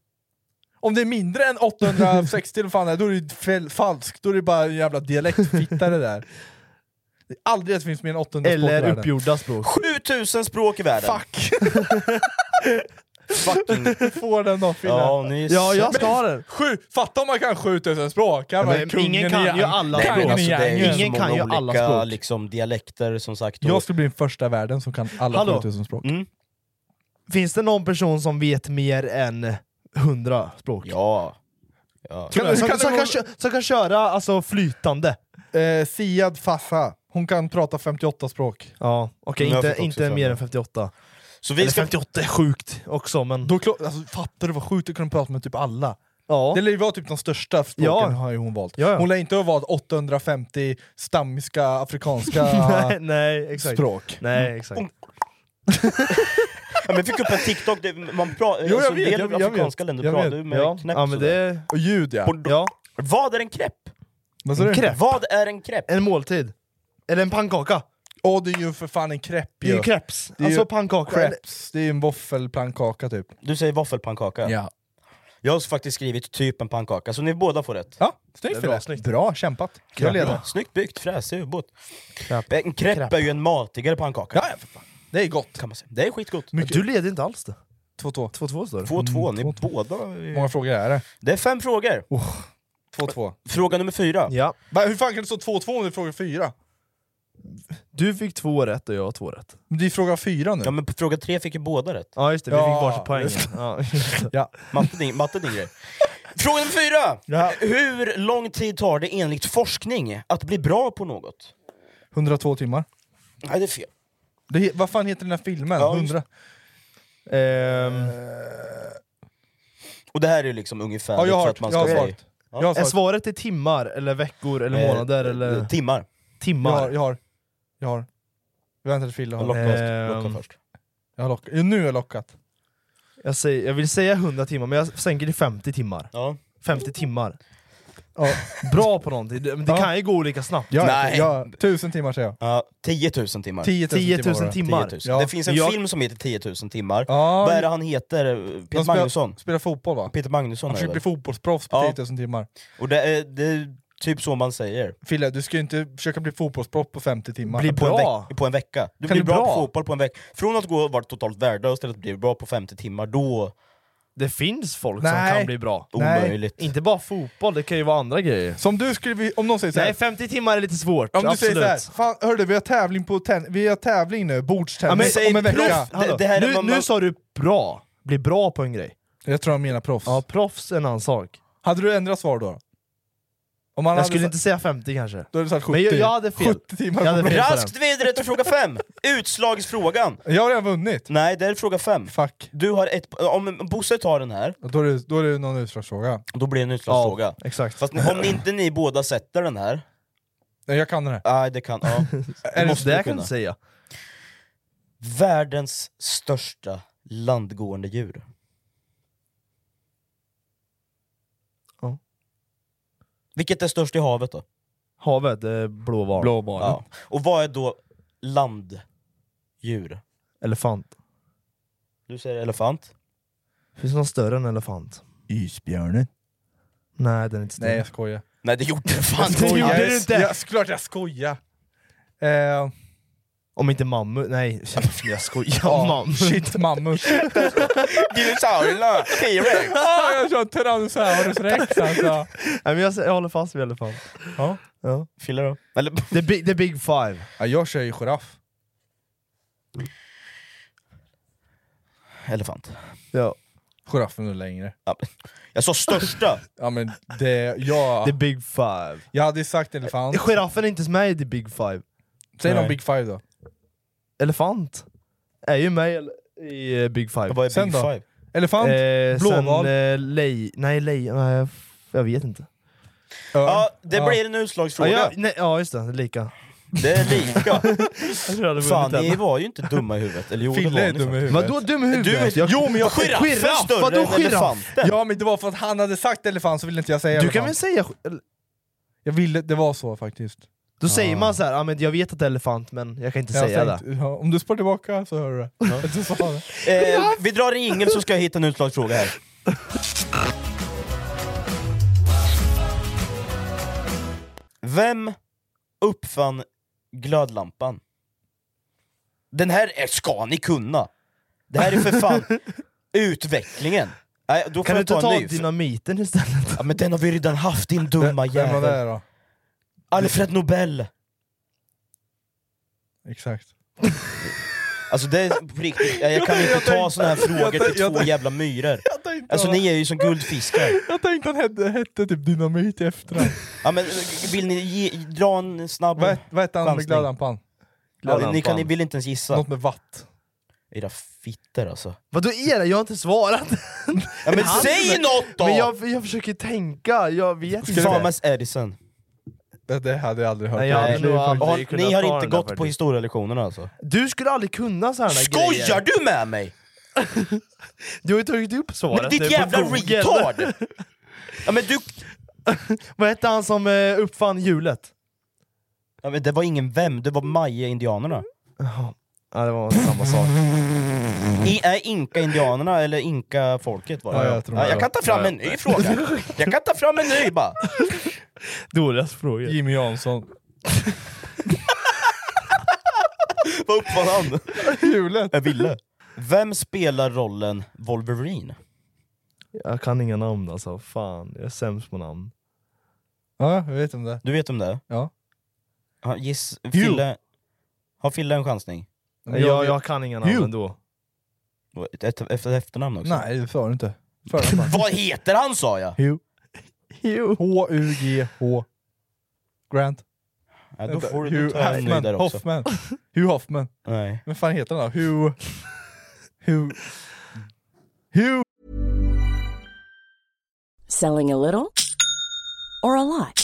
Speaker 5: Om det är mindre än 860 eller fan det är, då är det fel, falskt. Då är det bara en jävla dialektfitta det där. Det är aldrig att det finns mer än 800 språk i
Speaker 4: Eller
Speaker 5: världen.
Speaker 4: uppgjorda språk.
Speaker 3: 7000 språk i världen!
Speaker 5: Fuck!
Speaker 3: Fucking...
Speaker 5: Får den då Fille?
Speaker 3: Ja, ni är Ja, jag så- ska ha den.
Speaker 5: Sju, fatta om man kan 7000 språk! Han var kungen i
Speaker 3: Nej,
Speaker 5: gäng.
Speaker 3: men
Speaker 5: Kungen i
Speaker 3: alltså, det är
Speaker 5: gängen.
Speaker 3: så många olika, liksom, dialekter som sagt. och-
Speaker 5: Jag skulle bli den första i världen som kan alla
Speaker 4: Hallå? Mm.
Speaker 5: 7000 språk.
Speaker 4: Finns det någon person som vet mer än 100 språk?
Speaker 3: Ja. ja.
Speaker 4: Kan, som, som, kan, kö- som kan köra alltså, flytande?
Speaker 5: Eh, Siad Fassa, hon kan prata 58 språk.
Speaker 4: Ja,
Speaker 3: Mm,
Speaker 4: Okej, inte, inte mer än 58.
Speaker 3: Så vi
Speaker 4: Eller
Speaker 5: ska-
Speaker 4: 58 är sjukt också, men...
Speaker 5: Då, klo- alltså, fattar du vad sjukt att kunna prata med typ alla?
Speaker 4: Ja.
Speaker 5: Det lär ju vara typ de största språken
Speaker 4: Ja.
Speaker 5: har ju hon valt.
Speaker 4: Ja, ja.
Speaker 5: Hon lär inte ha valt 850 stammiska afrikanska
Speaker 4: nej, nej, exakt.
Speaker 5: språk. Mm.
Speaker 4: Nej, exakt.
Speaker 3: Ja, men jag fick upp en TikTok, det, man pratar,
Speaker 5: Jo, jag
Speaker 3: alltså,
Speaker 5: vet,
Speaker 3: en del
Speaker 5: jag- jag
Speaker 3: afrikanska
Speaker 5: vet,
Speaker 3: länder
Speaker 5: jag
Speaker 3: pratar
Speaker 5: vet.
Speaker 3: ju med
Speaker 5: Ja.
Speaker 3: knäpp
Speaker 5: Ja, men
Speaker 3: sådär.
Speaker 5: det- Och ljud ja.
Speaker 3: Bordå- Vad är en crepe?
Speaker 5: Vad sa du?
Speaker 3: Vad är en crepe?
Speaker 4: En måltid. Eller en pannkaka.
Speaker 5: Åh det är ju för fan en crepe
Speaker 4: Det är ju crepes.
Speaker 5: Det är ju
Speaker 4: Alltså pannkaka.
Speaker 5: crepes. Det är ju en våffelpannkaka typ.
Speaker 3: Du säger våffelpannkaka?
Speaker 5: Ja.
Speaker 3: Jag har faktiskt skrivit typ en pannkaka, så ni båda får rätt.
Speaker 5: Ja,
Speaker 4: snyggt, Fille.
Speaker 5: Bra kämpat.
Speaker 4: Jag leder.
Speaker 3: Snyggt byggt, fräsig ubåt. En crepe är ju en matigare pannkaka.
Speaker 5: Ja, för fan. Det är gott.
Speaker 3: Kan man säga. Det är skitgott.
Speaker 4: Du leder inte alls det.
Speaker 5: 2-2.
Speaker 4: 2-2 står det.
Speaker 3: 2-2,
Speaker 5: Mm,
Speaker 3: ni båda...
Speaker 5: många frågor är det?
Speaker 3: Det är fem frågor.
Speaker 5: Oh. 2-2.
Speaker 3: Fråga nummer fyra.
Speaker 4: Ja.
Speaker 5: Va, Hur fan kan det stå 2-2 om det är fråga 4?
Speaker 4: Du fick två rätt och jag två rätt.
Speaker 5: Det är fråga 4 nu.
Speaker 3: Ja men på fråga tre fick ju båda rätt.
Speaker 4: Ja just det, vi
Speaker 3: Ja,
Speaker 4: fick varsitt poäng.
Speaker 3: just det.
Speaker 4: Ja.
Speaker 5: ja.
Speaker 3: Matte din, matte din grej. Fråga nummer fyra! Hur lång tid tar det enligt forskning att bli bra på något?
Speaker 5: 102 timmar.
Speaker 3: Nej det är fel.
Speaker 5: Det, he- vad fan heter den här filmen?
Speaker 3: Ja, Eh,
Speaker 5: 100?
Speaker 4: Ehm,
Speaker 3: Och det här är ju liksom ungefär
Speaker 5: Ja, jag har
Speaker 3: för
Speaker 5: hört. Jag har
Speaker 3: bli-
Speaker 5: svarat. Jag har
Speaker 4: Är
Speaker 5: svarat.
Speaker 4: svaret i timmar, eller veckor, eller
Speaker 3: Eh,
Speaker 4: månader?
Speaker 3: eh,
Speaker 4: Eller...
Speaker 3: Timmar.
Speaker 5: Jag
Speaker 4: Timmar.
Speaker 5: har, jag har. Jag har. Jag väntar till Fille har.
Speaker 3: Jag lockar först,
Speaker 4: Ehm.
Speaker 3: lockar först.
Speaker 5: Jag har lockat. Nu har jag lockat.
Speaker 4: Jag, säger, jag vill säga 100 timmar, men jag sänker till 50 timmar.
Speaker 3: Ja.
Speaker 4: 50 timmar. Bra på någonting, det, men det
Speaker 5: Ja.
Speaker 4: kan ju gå olika snabbt.
Speaker 5: Jag, Nej. Jag, tusen timmar säger jag.
Speaker 3: Ja, 10 000 timmar.
Speaker 5: 10 000
Speaker 4: 10
Speaker 5: timmar var
Speaker 4: 000
Speaker 5: det.
Speaker 4: timmar.
Speaker 3: 10 000.
Speaker 5: Ja.
Speaker 3: Det finns en
Speaker 5: Jag-
Speaker 3: film som heter 10 000 timmar.
Speaker 5: Ja,
Speaker 3: Vad är det han heter? Peter
Speaker 5: spelar-
Speaker 3: Magnusson?
Speaker 5: Spelar fotboll va?
Speaker 3: Peter Magnusson är
Speaker 5: Han
Speaker 3: det
Speaker 5: försöker bli
Speaker 3: väl?
Speaker 5: fotbollsproffs på
Speaker 3: Ja.
Speaker 5: 10 000 timmar.
Speaker 3: Och det är, det är typ så man säger.
Speaker 5: Fille, du ska ju inte försöka bli fotbollsproffs på 50 timmar.
Speaker 3: på, En veck- på en vecka. Du
Speaker 5: Kan
Speaker 3: blir
Speaker 5: du
Speaker 3: bra,
Speaker 5: bra?
Speaker 3: på fotboll på en vecka. Från att gå och vara totalt värdelös till att bli bra på 50 timmar, då...
Speaker 4: Det finns folk
Speaker 5: Nej.
Speaker 4: som kan bli bra.
Speaker 5: Nej.
Speaker 3: Omöjligt.
Speaker 4: Inte bara fotboll, det kan ju vara andra grejer.
Speaker 5: Som du skulle, vi- om någon säger såhär,
Speaker 4: Nej, 50 timmar är lite svårt.
Speaker 5: om du
Speaker 4: absolut.
Speaker 5: säger såhär, fan hörru vi har tävling på ten, vi har tävling nu,
Speaker 4: Ja, men
Speaker 5: bordstennis
Speaker 4: säg
Speaker 5: om en vecka.
Speaker 4: proff. Hallå,
Speaker 3: det här är
Speaker 4: nu,
Speaker 3: vad
Speaker 4: nu
Speaker 3: man-
Speaker 4: sa du bra, bli bra på en grej.
Speaker 5: Jag tror han menar proffs.
Speaker 4: Ja, proffs är en annan sak.
Speaker 5: Hade du ändrat svar då? Om han
Speaker 4: Jag
Speaker 5: hade
Speaker 4: skulle
Speaker 5: sa-
Speaker 4: inte säga 50 kanske.
Speaker 5: Då hade du sagt 70.
Speaker 4: Men jag, jag hade fel.
Speaker 5: 70 timmar.
Speaker 4: Jag hade
Speaker 5: på
Speaker 4: fel på
Speaker 3: Raskt vidare till fråga fem Utslagsfrågan!
Speaker 5: den. jag har redan vunnit.
Speaker 3: Nej, det är fråga fem
Speaker 5: Fuck.
Speaker 3: Du har ett... Om Bosse tar den här,
Speaker 5: Då är det, då är det någon utslagsfråga.
Speaker 3: då blir det en utslagsfråga.
Speaker 4: Exakt.
Speaker 3: Fast ni- om ni inte ni båda sätter den här...
Speaker 5: Nej, jag kan den här.
Speaker 3: Nej, det kan... Ja.
Speaker 5: Är det
Speaker 3: måste
Speaker 4: det
Speaker 3: du
Speaker 4: här kan
Speaker 3: kunna.
Speaker 4: du säga.
Speaker 3: Världens största landgående djur.
Speaker 4: Ja. Mm.
Speaker 3: Vilket är störst i havet då?
Speaker 4: Havet, eh, det är blåval.
Speaker 5: Blåval.
Speaker 3: Ja. Och vad är då landdjur?
Speaker 4: Elefant.
Speaker 3: Du säger elefant.
Speaker 4: Finns det någon större än elefant?
Speaker 5: Isbjörnen.
Speaker 4: Nej, den är inte större.
Speaker 5: Nej jag skojar.
Speaker 3: Nej det gjorde det fan
Speaker 4: Det gjorde
Speaker 5: Jag-
Speaker 4: du inte.
Speaker 5: Jag, såklart jag skojar! Eh,
Speaker 4: Om inte mammut, nej jag skojar.
Speaker 5: ja,
Speaker 4: mammut.
Speaker 5: Shit mammut.
Speaker 3: Dinosaurierna! T-rex!
Speaker 5: ah, jag kör Tyrannosaurus rex alltså.
Speaker 4: Nej, men jag, jag håller fast vid elefant.
Speaker 5: Ja.
Speaker 4: Ja.
Speaker 3: Fille då? Eller,
Speaker 4: The, big, the big five.
Speaker 5: Ja, jag kör ju giraff.
Speaker 3: elefant.
Speaker 4: Ja.
Speaker 5: Giraffen är längre.
Speaker 3: Ja. Jag sa största!
Speaker 5: Ja men det, jag,
Speaker 4: The big five.
Speaker 5: jag hade ju sagt elefant.
Speaker 4: Giraffen är inte med i the big five.
Speaker 5: Säg någon
Speaker 4: Nej.
Speaker 5: big five då.
Speaker 4: Elefant är ju med i eh, big five.
Speaker 3: Vad är
Speaker 5: Sen
Speaker 3: big
Speaker 5: då?
Speaker 3: five?
Speaker 5: Elefant,
Speaker 4: Eh,
Speaker 5: blåval.
Speaker 4: Sen eh, lej... Nej, lej... Nej, jag f- jag vet inte.
Speaker 5: örn.
Speaker 3: Ja, det
Speaker 5: Ja.
Speaker 3: blir en
Speaker 4: Ja,
Speaker 3: utslagsfråga.
Speaker 4: jag, nej, ja just det, lika.
Speaker 3: Det är lika. Fan, ni
Speaker 4: ni...
Speaker 3: var ju inte dumma i huvudet. Eller jo, det
Speaker 5: Fille
Speaker 3: var
Speaker 5: är
Speaker 3: ni
Speaker 5: dum i
Speaker 3: faktiskt.
Speaker 5: huvudet.
Speaker 4: Vadå dum i
Speaker 3: Du
Speaker 4: huvudet?
Speaker 3: är- Jo, men jag- Giraffen större
Speaker 4: vadå
Speaker 3: än
Speaker 4: giraff?
Speaker 3: elefanten.
Speaker 5: Ja men det var för att han hade sagt elefant så ville inte jag säga
Speaker 4: Du
Speaker 5: elefant.
Speaker 4: kan väl säga... sk- eller-
Speaker 5: Jag ville, det var så faktiskt.
Speaker 4: Då säger man så här, ah, men jag vet att det är elefant men jag kan inte säga
Speaker 5: tänkte- Ja, om du spår tillbaka så hör du det. Du sa det.
Speaker 3: Eh, vi drar en jingel så ska jag hitta en utslagsfråga här. Vem uppfann glödlampan? Den här är, ska ni kunna! Det här är för fan Utvecklingen! Nej, då får
Speaker 4: Kan du
Speaker 3: jag
Speaker 4: inte ta
Speaker 3: en ny.
Speaker 4: dynamiten istället?
Speaker 3: Ja, men den har vi redan haft din dumma jävel.
Speaker 5: var det då?
Speaker 3: Alfred Nobel!
Speaker 5: Exakt.
Speaker 3: Alltså det är på riktigt, jag, jag kan
Speaker 5: Jag
Speaker 3: inte
Speaker 5: tänkte-
Speaker 3: ta såna här
Speaker 5: jag
Speaker 3: frågor
Speaker 5: tänkte-
Speaker 3: till
Speaker 5: jag
Speaker 3: två
Speaker 5: tänkte-
Speaker 3: jävla myror.
Speaker 5: tänkte-
Speaker 3: Alltså ni är ju som guldfiskar.
Speaker 5: Jag tänkte han hette, hette typ dynamit i efterhand.
Speaker 3: Ja, men, vill ni ge, dra en snabb
Speaker 5: Vad vad hette han med
Speaker 3: chansning?
Speaker 5: glödlampan?
Speaker 3: Ja, ni, kan, ni vill inte ens gissa.
Speaker 5: Något med vatt.
Speaker 3: Era fitter alltså.
Speaker 4: Vadå era? Jag har inte svarat!
Speaker 3: Ja, men säg något då!
Speaker 4: Men jag, jag försöker tänka, jag vet inte.
Speaker 3: Thomas Edison.
Speaker 5: Det, det hade jag aldrig hört.
Speaker 4: Nej, jag hade nog aldrig
Speaker 3: Har-
Speaker 4: kunnat
Speaker 3: Ni har
Speaker 4: ta
Speaker 3: inte
Speaker 4: den där
Speaker 3: gått på
Speaker 4: faktiskt.
Speaker 3: historielektionerna alltså?
Speaker 4: Du skulle aldrig kunna sådana här
Speaker 3: Skojar
Speaker 4: grejer.
Speaker 3: du med mig?
Speaker 4: Du har ju tagit upp svaret
Speaker 3: Men ditt
Speaker 4: nu på
Speaker 3: jävla
Speaker 4: Google.
Speaker 3: retard! Ja, men du...
Speaker 4: Vad hette han som eh, uppfann hjulet?
Speaker 3: Ja, men det var ingen vem, det var maya-indianerna.
Speaker 4: Ja det var samma sak.
Speaker 3: I, är inka-indianerna eller inka-folket var det?
Speaker 4: Ja, jag tror det.
Speaker 3: jag kan ta fram en ny fråga! Jag kan ta fram en ny bara!
Speaker 4: Dåligaste frågan.
Speaker 5: Jimmy Jansson.
Speaker 3: Vad uppfann han?
Speaker 5: Hjulet.
Speaker 3: Jag ville. Vem spelar rollen Wolverine?
Speaker 4: Jag kan inga namn alltså, fan. Jag är sämst på namn.
Speaker 5: Ja, jag vet om det.
Speaker 3: Du vet om det?
Speaker 5: Ja.
Speaker 3: Ja, Giss, Fille, har Fille en chansning?
Speaker 4: Jag, jag, kan inga namn
Speaker 3: Hugh.
Speaker 4: ändå.
Speaker 3: Och Ett, ett, ett efternamn också?
Speaker 5: Nej, det får du inte.
Speaker 3: Vad heter han sa jag?
Speaker 5: Hugh. H-U-G-H. Grant.
Speaker 3: Ja, då
Speaker 5: Vänta,
Speaker 3: får du
Speaker 5: Hugh
Speaker 3: ta en ny
Speaker 5: Hoffman.
Speaker 3: där också.
Speaker 5: Hoffman. Hugh Hoffman.
Speaker 3: Nej.
Speaker 5: Vem fan heter han då? Hugh... Hugh... Hugh...
Speaker 6: Selling a little or a lot?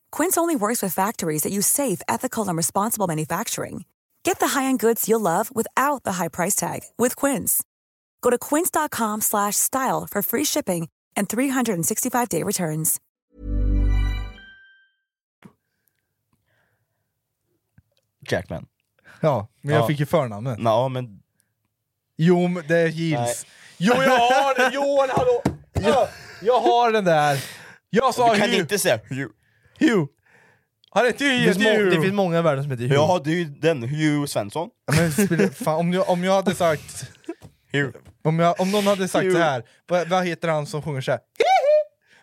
Speaker 11: Quince only works with factories that use safe, ethical, and responsible manufacturing. Get the high-end goods you'll love without the high price tag with Quince. Go to quince.com/style slash style for free shipping and 365-day returns.
Speaker 3: Jackman.
Speaker 5: Ja, men jag
Speaker 3: Ja.
Speaker 5: fick ju förnamnet.
Speaker 3: Ja, men...
Speaker 5: Jo, men det är Gils. Jo, jag har den! Jo, hallå! Jag, jag har den där! Jag sa
Speaker 3: Du kan
Speaker 5: Hugh.
Speaker 3: inte säga Hugh.
Speaker 5: Hugh! Han heter ju
Speaker 4: Det finns, må- det finns
Speaker 5: Hugh!
Speaker 4: många i världen som heter Hugh.
Speaker 3: Jaha, det är ju den Hugh Svensson.
Speaker 5: Ja, men spelar- fan, om, jag, om jag hade sagt...
Speaker 3: Hugh.
Speaker 5: Om, jag, om någon hade sagt
Speaker 3: Hugh.
Speaker 5: så här. Vad, vad heter han som sjunger såhär?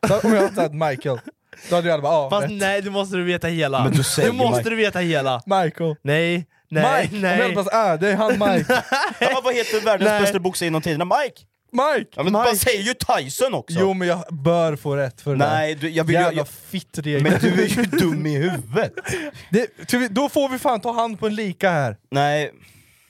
Speaker 5: Så om jag hade sagt Michael, då hade jag alla bara ah,
Speaker 4: Fast
Speaker 5: rätt.
Speaker 4: nej, du måste du veta hela.
Speaker 3: Men du säger
Speaker 4: du måste
Speaker 3: Mike.
Speaker 4: du veta hela.
Speaker 5: Michael.
Speaker 4: Nej, nej,
Speaker 5: Mike! Om jag hade
Speaker 4: nej.
Speaker 5: bara sagt ah, det är han Mike.
Speaker 3: Ja, vad heter världens
Speaker 5: Nej.
Speaker 3: bästa boxare genom tiderna? Mike!
Speaker 5: Mike!
Speaker 3: Ja, men
Speaker 5: Mike.
Speaker 3: man säger ju Tyson också!
Speaker 5: Jo men jag bör få rätt för det
Speaker 3: Nej, du, jag
Speaker 5: där.
Speaker 3: vill ju...
Speaker 5: Jävla
Speaker 3: Jag,
Speaker 5: fitt
Speaker 3: men
Speaker 5: regel.
Speaker 3: du är ju dum i huvudet!
Speaker 5: Det, tyvärr- då får vi fan ta hand på en lika här.
Speaker 3: Nej,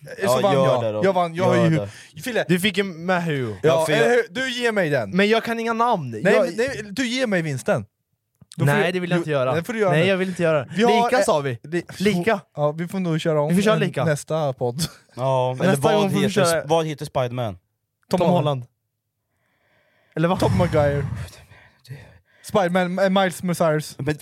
Speaker 5: Så
Speaker 3: Ja,
Speaker 5: vann
Speaker 3: gör
Speaker 5: jag.
Speaker 3: det då.
Speaker 5: Jag vann, jag har
Speaker 3: Gör
Speaker 5: ju
Speaker 3: det.
Speaker 5: hu- Fille,
Speaker 4: Du fick en med Hugh.
Speaker 5: ja,
Speaker 3: för
Speaker 5: eller
Speaker 3: jag-
Speaker 5: hur? du ger mig den.
Speaker 4: Men jag kan inga namn.
Speaker 5: nej,
Speaker 4: jag,
Speaker 5: men- nej, du ger mig vinsten. Då får
Speaker 4: nej, det vill jag
Speaker 5: jo,
Speaker 4: inte göra.
Speaker 5: Det får du göra
Speaker 4: nej,
Speaker 5: nu.
Speaker 4: jag vill inte göra det.
Speaker 5: Vi har-
Speaker 4: Lika
Speaker 5: eh,
Speaker 4: sa vi.
Speaker 5: Li-
Speaker 4: Lika.
Speaker 5: Ja, vi får nog köra om
Speaker 4: Vi får köra
Speaker 5: en-
Speaker 4: lika.
Speaker 5: nästa podd.
Speaker 3: ja, eller
Speaker 4: Nästa gång
Speaker 3: vad
Speaker 4: får vi
Speaker 3: heter,
Speaker 4: köra-
Speaker 3: vad heter Spiderman?
Speaker 4: Tom, Holland. Eller vad?
Speaker 5: Tom Maguire. Spiderman, eh, Miles Messias.
Speaker 3: Men,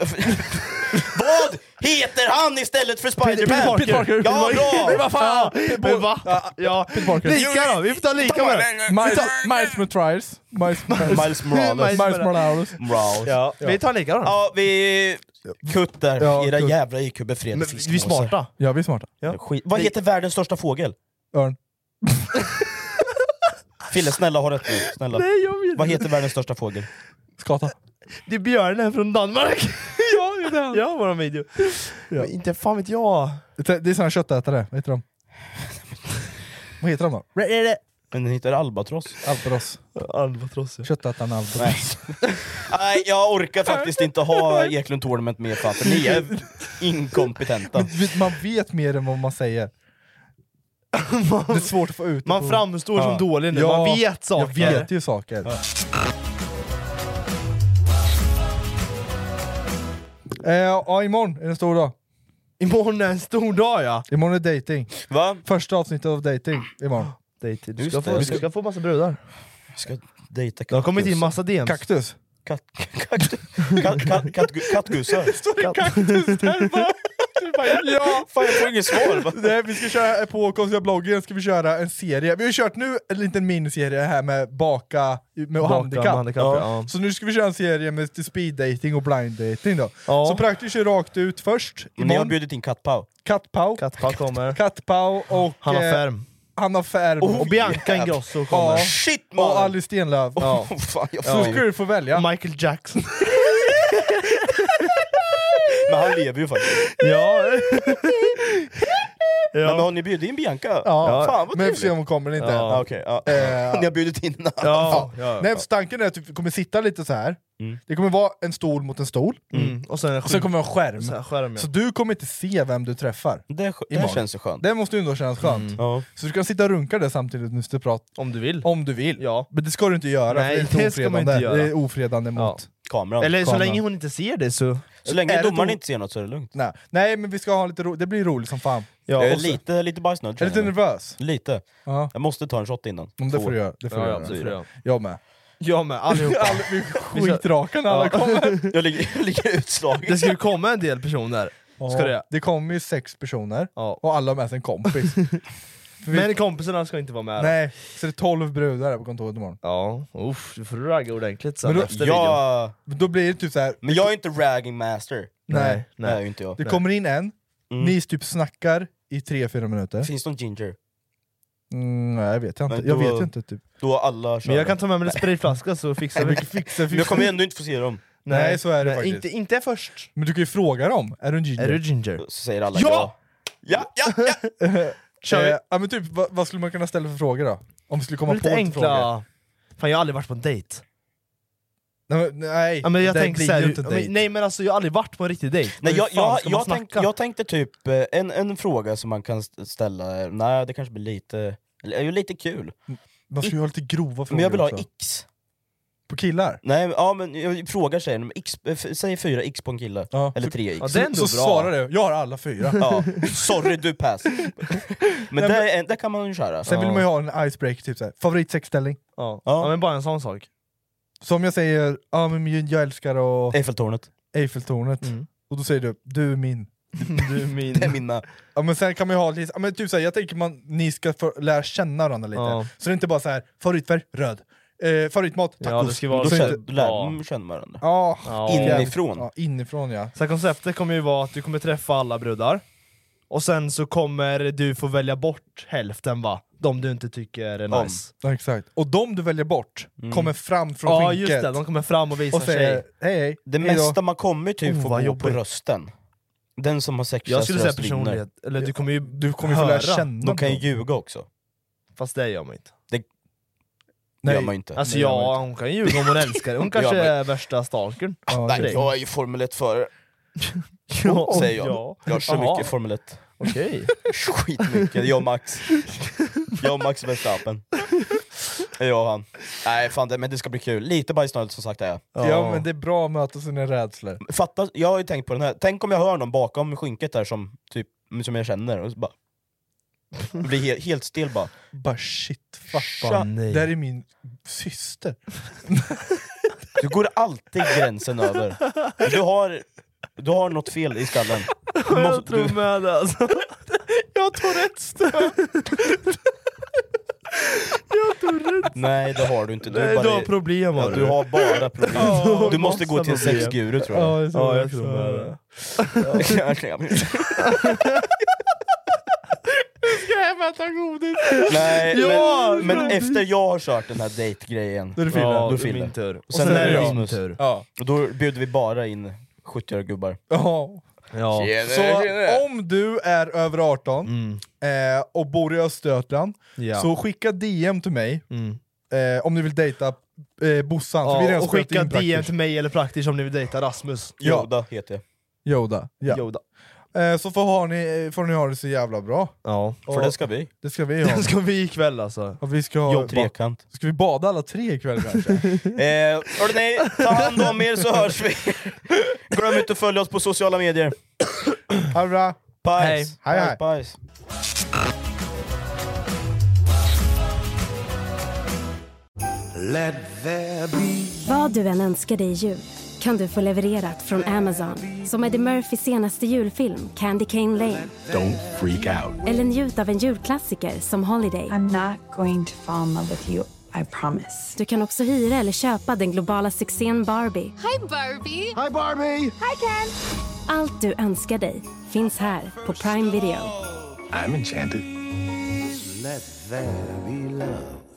Speaker 3: vad heter han istället för Spiderman?
Speaker 5: Peter Parker.
Speaker 3: Ja, bra!
Speaker 5: Men vad fan!
Speaker 4: Men va? Ja, ja.
Speaker 5: Peter Parker.
Speaker 4: Lika då, vi får ta lika med det.
Speaker 5: Miles, Miles Messias. Miles Morales.
Speaker 3: Miles Morales.
Speaker 5: Miles Morales.
Speaker 3: Morales.
Speaker 4: Ja, vi tar lika då.
Speaker 3: Ja, vi... Kutt där,
Speaker 5: Ja,
Speaker 3: era
Speaker 5: kutt.
Speaker 3: jävla IQ befriade
Speaker 4: Men
Speaker 3: fiskmåsar.
Speaker 4: vi är smarta.
Speaker 5: Ja, vi är smarta.
Speaker 3: Skit. Vad heter världens största fågel?
Speaker 5: Örn.
Speaker 3: Fille, snälla ha rätt nu. Snälla.
Speaker 4: Nej, jag vill
Speaker 3: Vad
Speaker 4: inte.
Speaker 3: heter världens största fågel?
Speaker 5: Skata.
Speaker 4: Det är björnen från Danmark. ja, det är han. Ja, våran video. Men inte fan vet jag.
Speaker 5: Det det är såna köttätare, vad heter de? vad heter de då?
Speaker 3: Men den heter albatross.
Speaker 5: Albatross.
Speaker 4: albatross ja.
Speaker 5: Köttätaren albatross.
Speaker 3: Nej, jag orkar faktiskt inte ha Eklund Tournament med fan, för ni är inkompetenta.
Speaker 5: Vet- Man vet mer än vad man säger. Det är svårt att få ut det
Speaker 4: Man
Speaker 5: på-
Speaker 4: framstår som dålig nu, man vet saker.
Speaker 5: Jag vet ju saker. Eh, ja, imorgon är det en stor dag.
Speaker 4: Imorgon är en stor dag ja!
Speaker 5: Imorgon är dating.
Speaker 3: Va?
Speaker 5: Första avsnittet av dating imorgon.
Speaker 4: Dating. Du
Speaker 5: Just
Speaker 4: ska,
Speaker 5: det.
Speaker 4: få, du ska få massa brudar.
Speaker 3: Jag ska dejta
Speaker 4: Det har kommit in massa DMs.
Speaker 5: Kaktus?
Speaker 3: Kat, kat, kat, kat, kattgussar.
Speaker 5: kaktus där bara? Du bara, ja!
Speaker 3: Fan jag får inget svar. va?
Speaker 5: Nej, vi ska köra på konstiga bloggen ska vi köra en serie. Vi har ju kört nu en liten miniserie här med baka med
Speaker 4: Baka
Speaker 5: handikapp.
Speaker 4: med handikapp, ja.
Speaker 5: Så nu ska vi köra en serie med speed dating och blind dating då. Så praktiskt kör rakt ut först.
Speaker 3: Ni har
Speaker 5: imorgon.
Speaker 3: bjudit in Kattpau.
Speaker 5: Kattpau.
Speaker 4: Kattpau kommer.
Speaker 5: Kattpau och...
Speaker 4: Hanna
Speaker 5: eh,
Speaker 4: Ferm.
Speaker 5: Hanna Ferm.
Speaker 4: Och Bianca Ingrosso kommer.
Speaker 5: Ja.
Speaker 4: Shit, man.
Speaker 5: och Alice Stenlöf.
Speaker 4: Ja.
Speaker 3: Fan, jag
Speaker 5: Så
Speaker 4: får-
Speaker 5: ska du få välja.
Speaker 4: Michael Jackson.
Speaker 3: Men han lever ju faktiskt.
Speaker 4: ja.
Speaker 3: Men har ni bjudit in Bianca?
Speaker 5: Ja,
Speaker 3: Fan vad
Speaker 5: men vi
Speaker 3: trevligt.
Speaker 5: får se om hon kommer eller inte.
Speaker 3: Ja, okej, ja.
Speaker 5: Eh.
Speaker 3: Ni har bjudit in en annan.
Speaker 5: Ja.
Speaker 3: Fan.
Speaker 5: Nej, så tanken är att du kommer sitta lite så här. det kommer vara en stol mot en stol,
Speaker 4: Mm. Och sen en
Speaker 5: Mm. sen kommer det vara en skärm.
Speaker 4: Så
Speaker 5: Så,
Speaker 4: här skärm, ja.
Speaker 5: du kommer inte se vem du träffar.
Speaker 3: Det,
Speaker 5: imorgon.
Speaker 3: känns så skönt.
Speaker 5: Det måste ju ändå kännas skönt. Så du kan sitta och runka det samtidigt nu du pratar.
Speaker 4: Om du vill.
Speaker 5: Om du vill.
Speaker 4: Ja.
Speaker 5: Men det ska du inte göra,
Speaker 4: Nej,
Speaker 5: för det är
Speaker 4: det
Speaker 5: inte
Speaker 4: ska man
Speaker 5: ofredande.
Speaker 4: inte göra.
Speaker 5: Det är ofredande mot...
Speaker 3: Kameran.
Speaker 4: Eller så
Speaker 5: Kameran.
Speaker 4: länge hon inte ser det så...
Speaker 3: Så länge
Speaker 5: Är det
Speaker 3: domaren
Speaker 5: då-
Speaker 3: inte ser något så är det lugnt.
Speaker 5: Nej. Nej, men vi ska ha lite ro... det blir roligt som fan.
Speaker 4: Ja,
Speaker 3: jag är
Speaker 4: och så-
Speaker 3: lite, lite bajsnödig.
Speaker 5: Är du
Speaker 3: känner
Speaker 5: lite
Speaker 3: jag.
Speaker 5: nervös?
Speaker 3: Lite.
Speaker 5: Ja.
Speaker 3: Jag måste ta en shot innan.
Speaker 5: Mm, det får du göra. Det får du göra. Jag med.
Speaker 4: Jag med, allihopa.
Speaker 5: All- vi är skitraka när alla kommer.
Speaker 3: Jag ligger, jag ligger utslagen.
Speaker 4: Det skulle komma en del personer. Ska det.
Speaker 5: det kommer ju sex personer, och alla har med sig en kompis. För vi-
Speaker 4: Men kompisarna ska inte vara med. då.
Speaker 5: Nej, så det är 12 brudar här på kontoret imorgon.
Speaker 4: Ja, uff, du får ragga ordentligt sen
Speaker 5: Men då-
Speaker 4: efter videon.
Speaker 3: Ja,
Speaker 5: Då blir det typ så här.
Speaker 3: men jag är inte ragging master.
Speaker 5: Nej.
Speaker 3: Det är ju inte jag.
Speaker 5: det kommer in en,
Speaker 3: Mm.
Speaker 5: ni typ snackar i 3-4 minuter.
Speaker 3: Finns det någon ginger?
Speaker 5: Mm, nej, jag vet jag inte.
Speaker 3: Men
Speaker 5: Jag
Speaker 3: då-
Speaker 5: vet ju inte. Typ.
Speaker 3: Då har alla kör
Speaker 4: Men jag
Speaker 3: det.
Speaker 4: kan ta med mig en sprayflaska så fixar vi.
Speaker 3: Men jag kommer ändå inte få se dem.
Speaker 5: Nej, så är det faktiskt.
Speaker 4: Inte, inte först.
Speaker 5: Men du kan ju fråga dem, är du en ginger?
Speaker 4: Är du ginger?
Speaker 3: Så säger alla
Speaker 5: Ja!
Speaker 3: ja! Ja, ja, ja!
Speaker 5: Kör vi. Eh, ja, men typ, vad, vad skulle man kunna ställa för frågor då? Om vi skulle komma på
Speaker 4: Lite
Speaker 5: lite frågor.
Speaker 4: enkla... Fan jag har aldrig varit på en dejt.
Speaker 5: Nej, men- nej
Speaker 4: Ja, men jag
Speaker 5: det där
Speaker 4: tänker
Speaker 5: blir
Speaker 4: så här,
Speaker 5: ju inte
Speaker 4: ja,
Speaker 5: en
Speaker 4: men-
Speaker 5: dejt.
Speaker 4: Nej men alltså jag har aldrig varit på en riktig dejt.
Speaker 3: Nej,
Speaker 4: Hur
Speaker 3: jag,
Speaker 4: fan
Speaker 3: jag,
Speaker 4: ska man
Speaker 3: jag, tänk,
Speaker 4: snacka?
Speaker 3: jag tänkte typ eh, en, en fråga som man kan st- ställa, eh, nej det kanske blir lite, eller är ju lite kul.
Speaker 5: Man ska ju ha lite grova frågor
Speaker 3: Men jag vill ha
Speaker 5: också.
Speaker 3: x.
Speaker 5: På killar?
Speaker 3: Nej, men- ja, men jag frågar tjejen, om x, eh, f- säg fyra x på en kille,
Speaker 5: Ja.
Speaker 3: eller tre x.
Speaker 4: Ja, det är ändå
Speaker 5: Så
Speaker 4: bra.
Speaker 5: svarar du, jag har alla fyra.
Speaker 3: Ja, sorry du pass. Men
Speaker 5: men-
Speaker 3: det, är- det kan man ju köra.
Speaker 5: Sen vill man ju ha en icebreaker, typ såhär, favoritsexställning.
Speaker 4: Ja.
Speaker 3: Ja.
Speaker 4: Ja. men bara en sån sak.
Speaker 5: Så om jag säger, ah, men jag älskar och
Speaker 3: Eiffeltornet,
Speaker 5: Eiffeltornet,
Speaker 4: Mm.
Speaker 5: och då säger du, du är min.
Speaker 4: Du är min...
Speaker 3: det är min med.
Speaker 5: Ja men sen kan man ju ha lite, ja, men typ såhär, jag tänker man, ni ska få lära känna varandra lite.
Speaker 4: Ja.
Speaker 5: Så det är inte bara så här favoritfärg, röd. Eh, favoritmat, tacos.
Speaker 4: Ja, det ska vara
Speaker 3: Då
Speaker 5: så
Speaker 3: känner,
Speaker 5: inte,
Speaker 3: då lär
Speaker 4: Ja.
Speaker 3: man känna varandra.
Speaker 5: ja,
Speaker 4: Ja.
Speaker 3: Inifrån.
Speaker 5: Ja, inifrån ja.
Speaker 4: Så här, konceptet kommer ju vara att du kommer träffa alla brudar, och sen så kommer du få välja bort hälften va? De du inte tycker är
Speaker 3: Om.
Speaker 4: nice.
Speaker 5: ja exakt. Och de du väljer bort kommer fram från
Speaker 4: Mm. Ja
Speaker 5: skynket
Speaker 4: just det, de kommer fram och visar
Speaker 5: och säger
Speaker 4: sig.
Speaker 5: hej hej.
Speaker 3: Det
Speaker 5: hej då.
Speaker 3: mesta man kommer typ
Speaker 5: Oh,
Speaker 3: få
Speaker 5: vad
Speaker 3: gå på
Speaker 5: jobbigt.
Speaker 3: rösten. Den som har
Speaker 4: Jag
Speaker 3: sexigast
Speaker 4: skulle säga
Speaker 3: röst vinner.
Speaker 4: personlighet, eller du kommer ju
Speaker 5: Du kommer ju få lära
Speaker 4: höra.
Speaker 5: känna
Speaker 3: De kan ju
Speaker 5: dem.
Speaker 3: ljuga också.
Speaker 4: Fast det gör man inte.
Speaker 3: Det
Speaker 5: Nej.
Speaker 3: gör man ju inte.
Speaker 4: Alltså
Speaker 5: Nej, det gör man
Speaker 4: ja, hon kan ju ljuga om hon älskar det. Hon
Speaker 3: Det gör
Speaker 4: kanske
Speaker 3: man
Speaker 4: är värsta stalkern.
Speaker 5: Ja,
Speaker 3: Nej,
Speaker 5: direkt.
Speaker 3: jag är ju Formel 1 förare
Speaker 4: Ja,
Speaker 3: säger jag.
Speaker 4: ja.
Speaker 3: Jag har så
Speaker 4: Jaha,
Speaker 3: mycket Formel 1.
Speaker 4: Okej.
Speaker 3: Skitmycket. Jag och Max. Jag och Max Verstappen. Jag och han. Nej fan, det, men det ska bli kul. Lite bajsnödigt som sagt är jag.
Speaker 5: Ja men det är bra att möta sina rädslor.
Speaker 3: Fatta, jag har ju tänkt på den här, tänk om jag hör någon bakom skynket där som, typ, som jag känner och så bara... Jag blir he, helt stel bara.
Speaker 5: Bara shit,
Speaker 3: Tja.
Speaker 5: pappa.
Speaker 4: Nej.
Speaker 5: Där är min syster.
Speaker 3: Du går alltid gränsen över. Du har, du har något fel i skallen. Du
Speaker 4: Jag
Speaker 3: måste,
Speaker 4: tror
Speaker 3: du,
Speaker 4: med det alltså. Jag tror rätt stöd.
Speaker 3: nej det har du inte. Du, är
Speaker 4: Nej,
Speaker 3: bara,
Speaker 4: du har problem
Speaker 3: ja,
Speaker 4: har
Speaker 3: du har bara problem. Du måste gå till en
Speaker 4: massa problem.
Speaker 3: sexguru tror jag.
Speaker 5: det
Speaker 4: Ja, jag tror med det.
Speaker 5: Ska hem och äta godis!
Speaker 3: Nej,
Speaker 5: Ja,
Speaker 3: men, men
Speaker 5: det-
Speaker 3: efter jag har kört den här dejtgrejen,
Speaker 5: Då är det Fille.
Speaker 4: Ja,
Speaker 3: då
Speaker 4: det är min tur.
Speaker 3: Och sen, är det
Speaker 5: jag.
Speaker 3: Rasmus.
Speaker 5: Ja.
Speaker 3: Och då bjuder vi bara in 70-åriga gubbar.
Speaker 5: Ja.
Speaker 4: Ja. Tjena,
Speaker 5: så
Speaker 4: tjena.
Speaker 5: om du är över 18 eh, och bor i Östergötland,
Speaker 4: Mm. Ja. Mm.
Speaker 5: så skicka DM till mig eh, om ni vill dejta eh, Bossan. för vi har
Speaker 4: Ja,
Speaker 5: redan
Speaker 4: och
Speaker 5: spelat
Speaker 4: skicka
Speaker 5: in praktiskt.
Speaker 4: DM till mig eller praktiskt om ni vill dejta Rasmus.
Speaker 5: Ja.
Speaker 3: Yoda heter jag.
Speaker 5: Yoda. Ja. Eh, så får, ha ni, får ni ha det så jävla bra.
Speaker 4: Ja,
Speaker 5: Och-
Speaker 3: För det ska vi.
Speaker 5: Det ska vi ha.
Speaker 4: Det ska vi ikväll alltså.
Speaker 5: Och vi ska ha...
Speaker 3: Jobb trekant.
Speaker 5: Ska vi bada alla tre ikväll kanske?
Speaker 3: Eh, hörni, ta hand om er så hörs vi. Glöm inte att följa oss på sociala medier.
Speaker 5: Ha det bra.
Speaker 3: Pajs.
Speaker 5: Hej. Hej, hej.
Speaker 3: Pajs.
Speaker 12: Let there be
Speaker 13: Vad du än önskar dig i jul kan du få levererat från Amazon. Som Eddie Murphys senaste julfilm Candy Cane Lane.
Speaker 12: Don't freak out.
Speaker 13: Eller njut av en julklassiker som Holiday. I'm not going to fall in love with you, I promise. Du kan också hyra eller köpa den globala succén Barbie.
Speaker 14: Hi Barbie! Hi Barbie! Hi Ken!
Speaker 13: Allt du önskar dig finns här på Prime Video.
Speaker 12: I'm enchanted. Let there be love.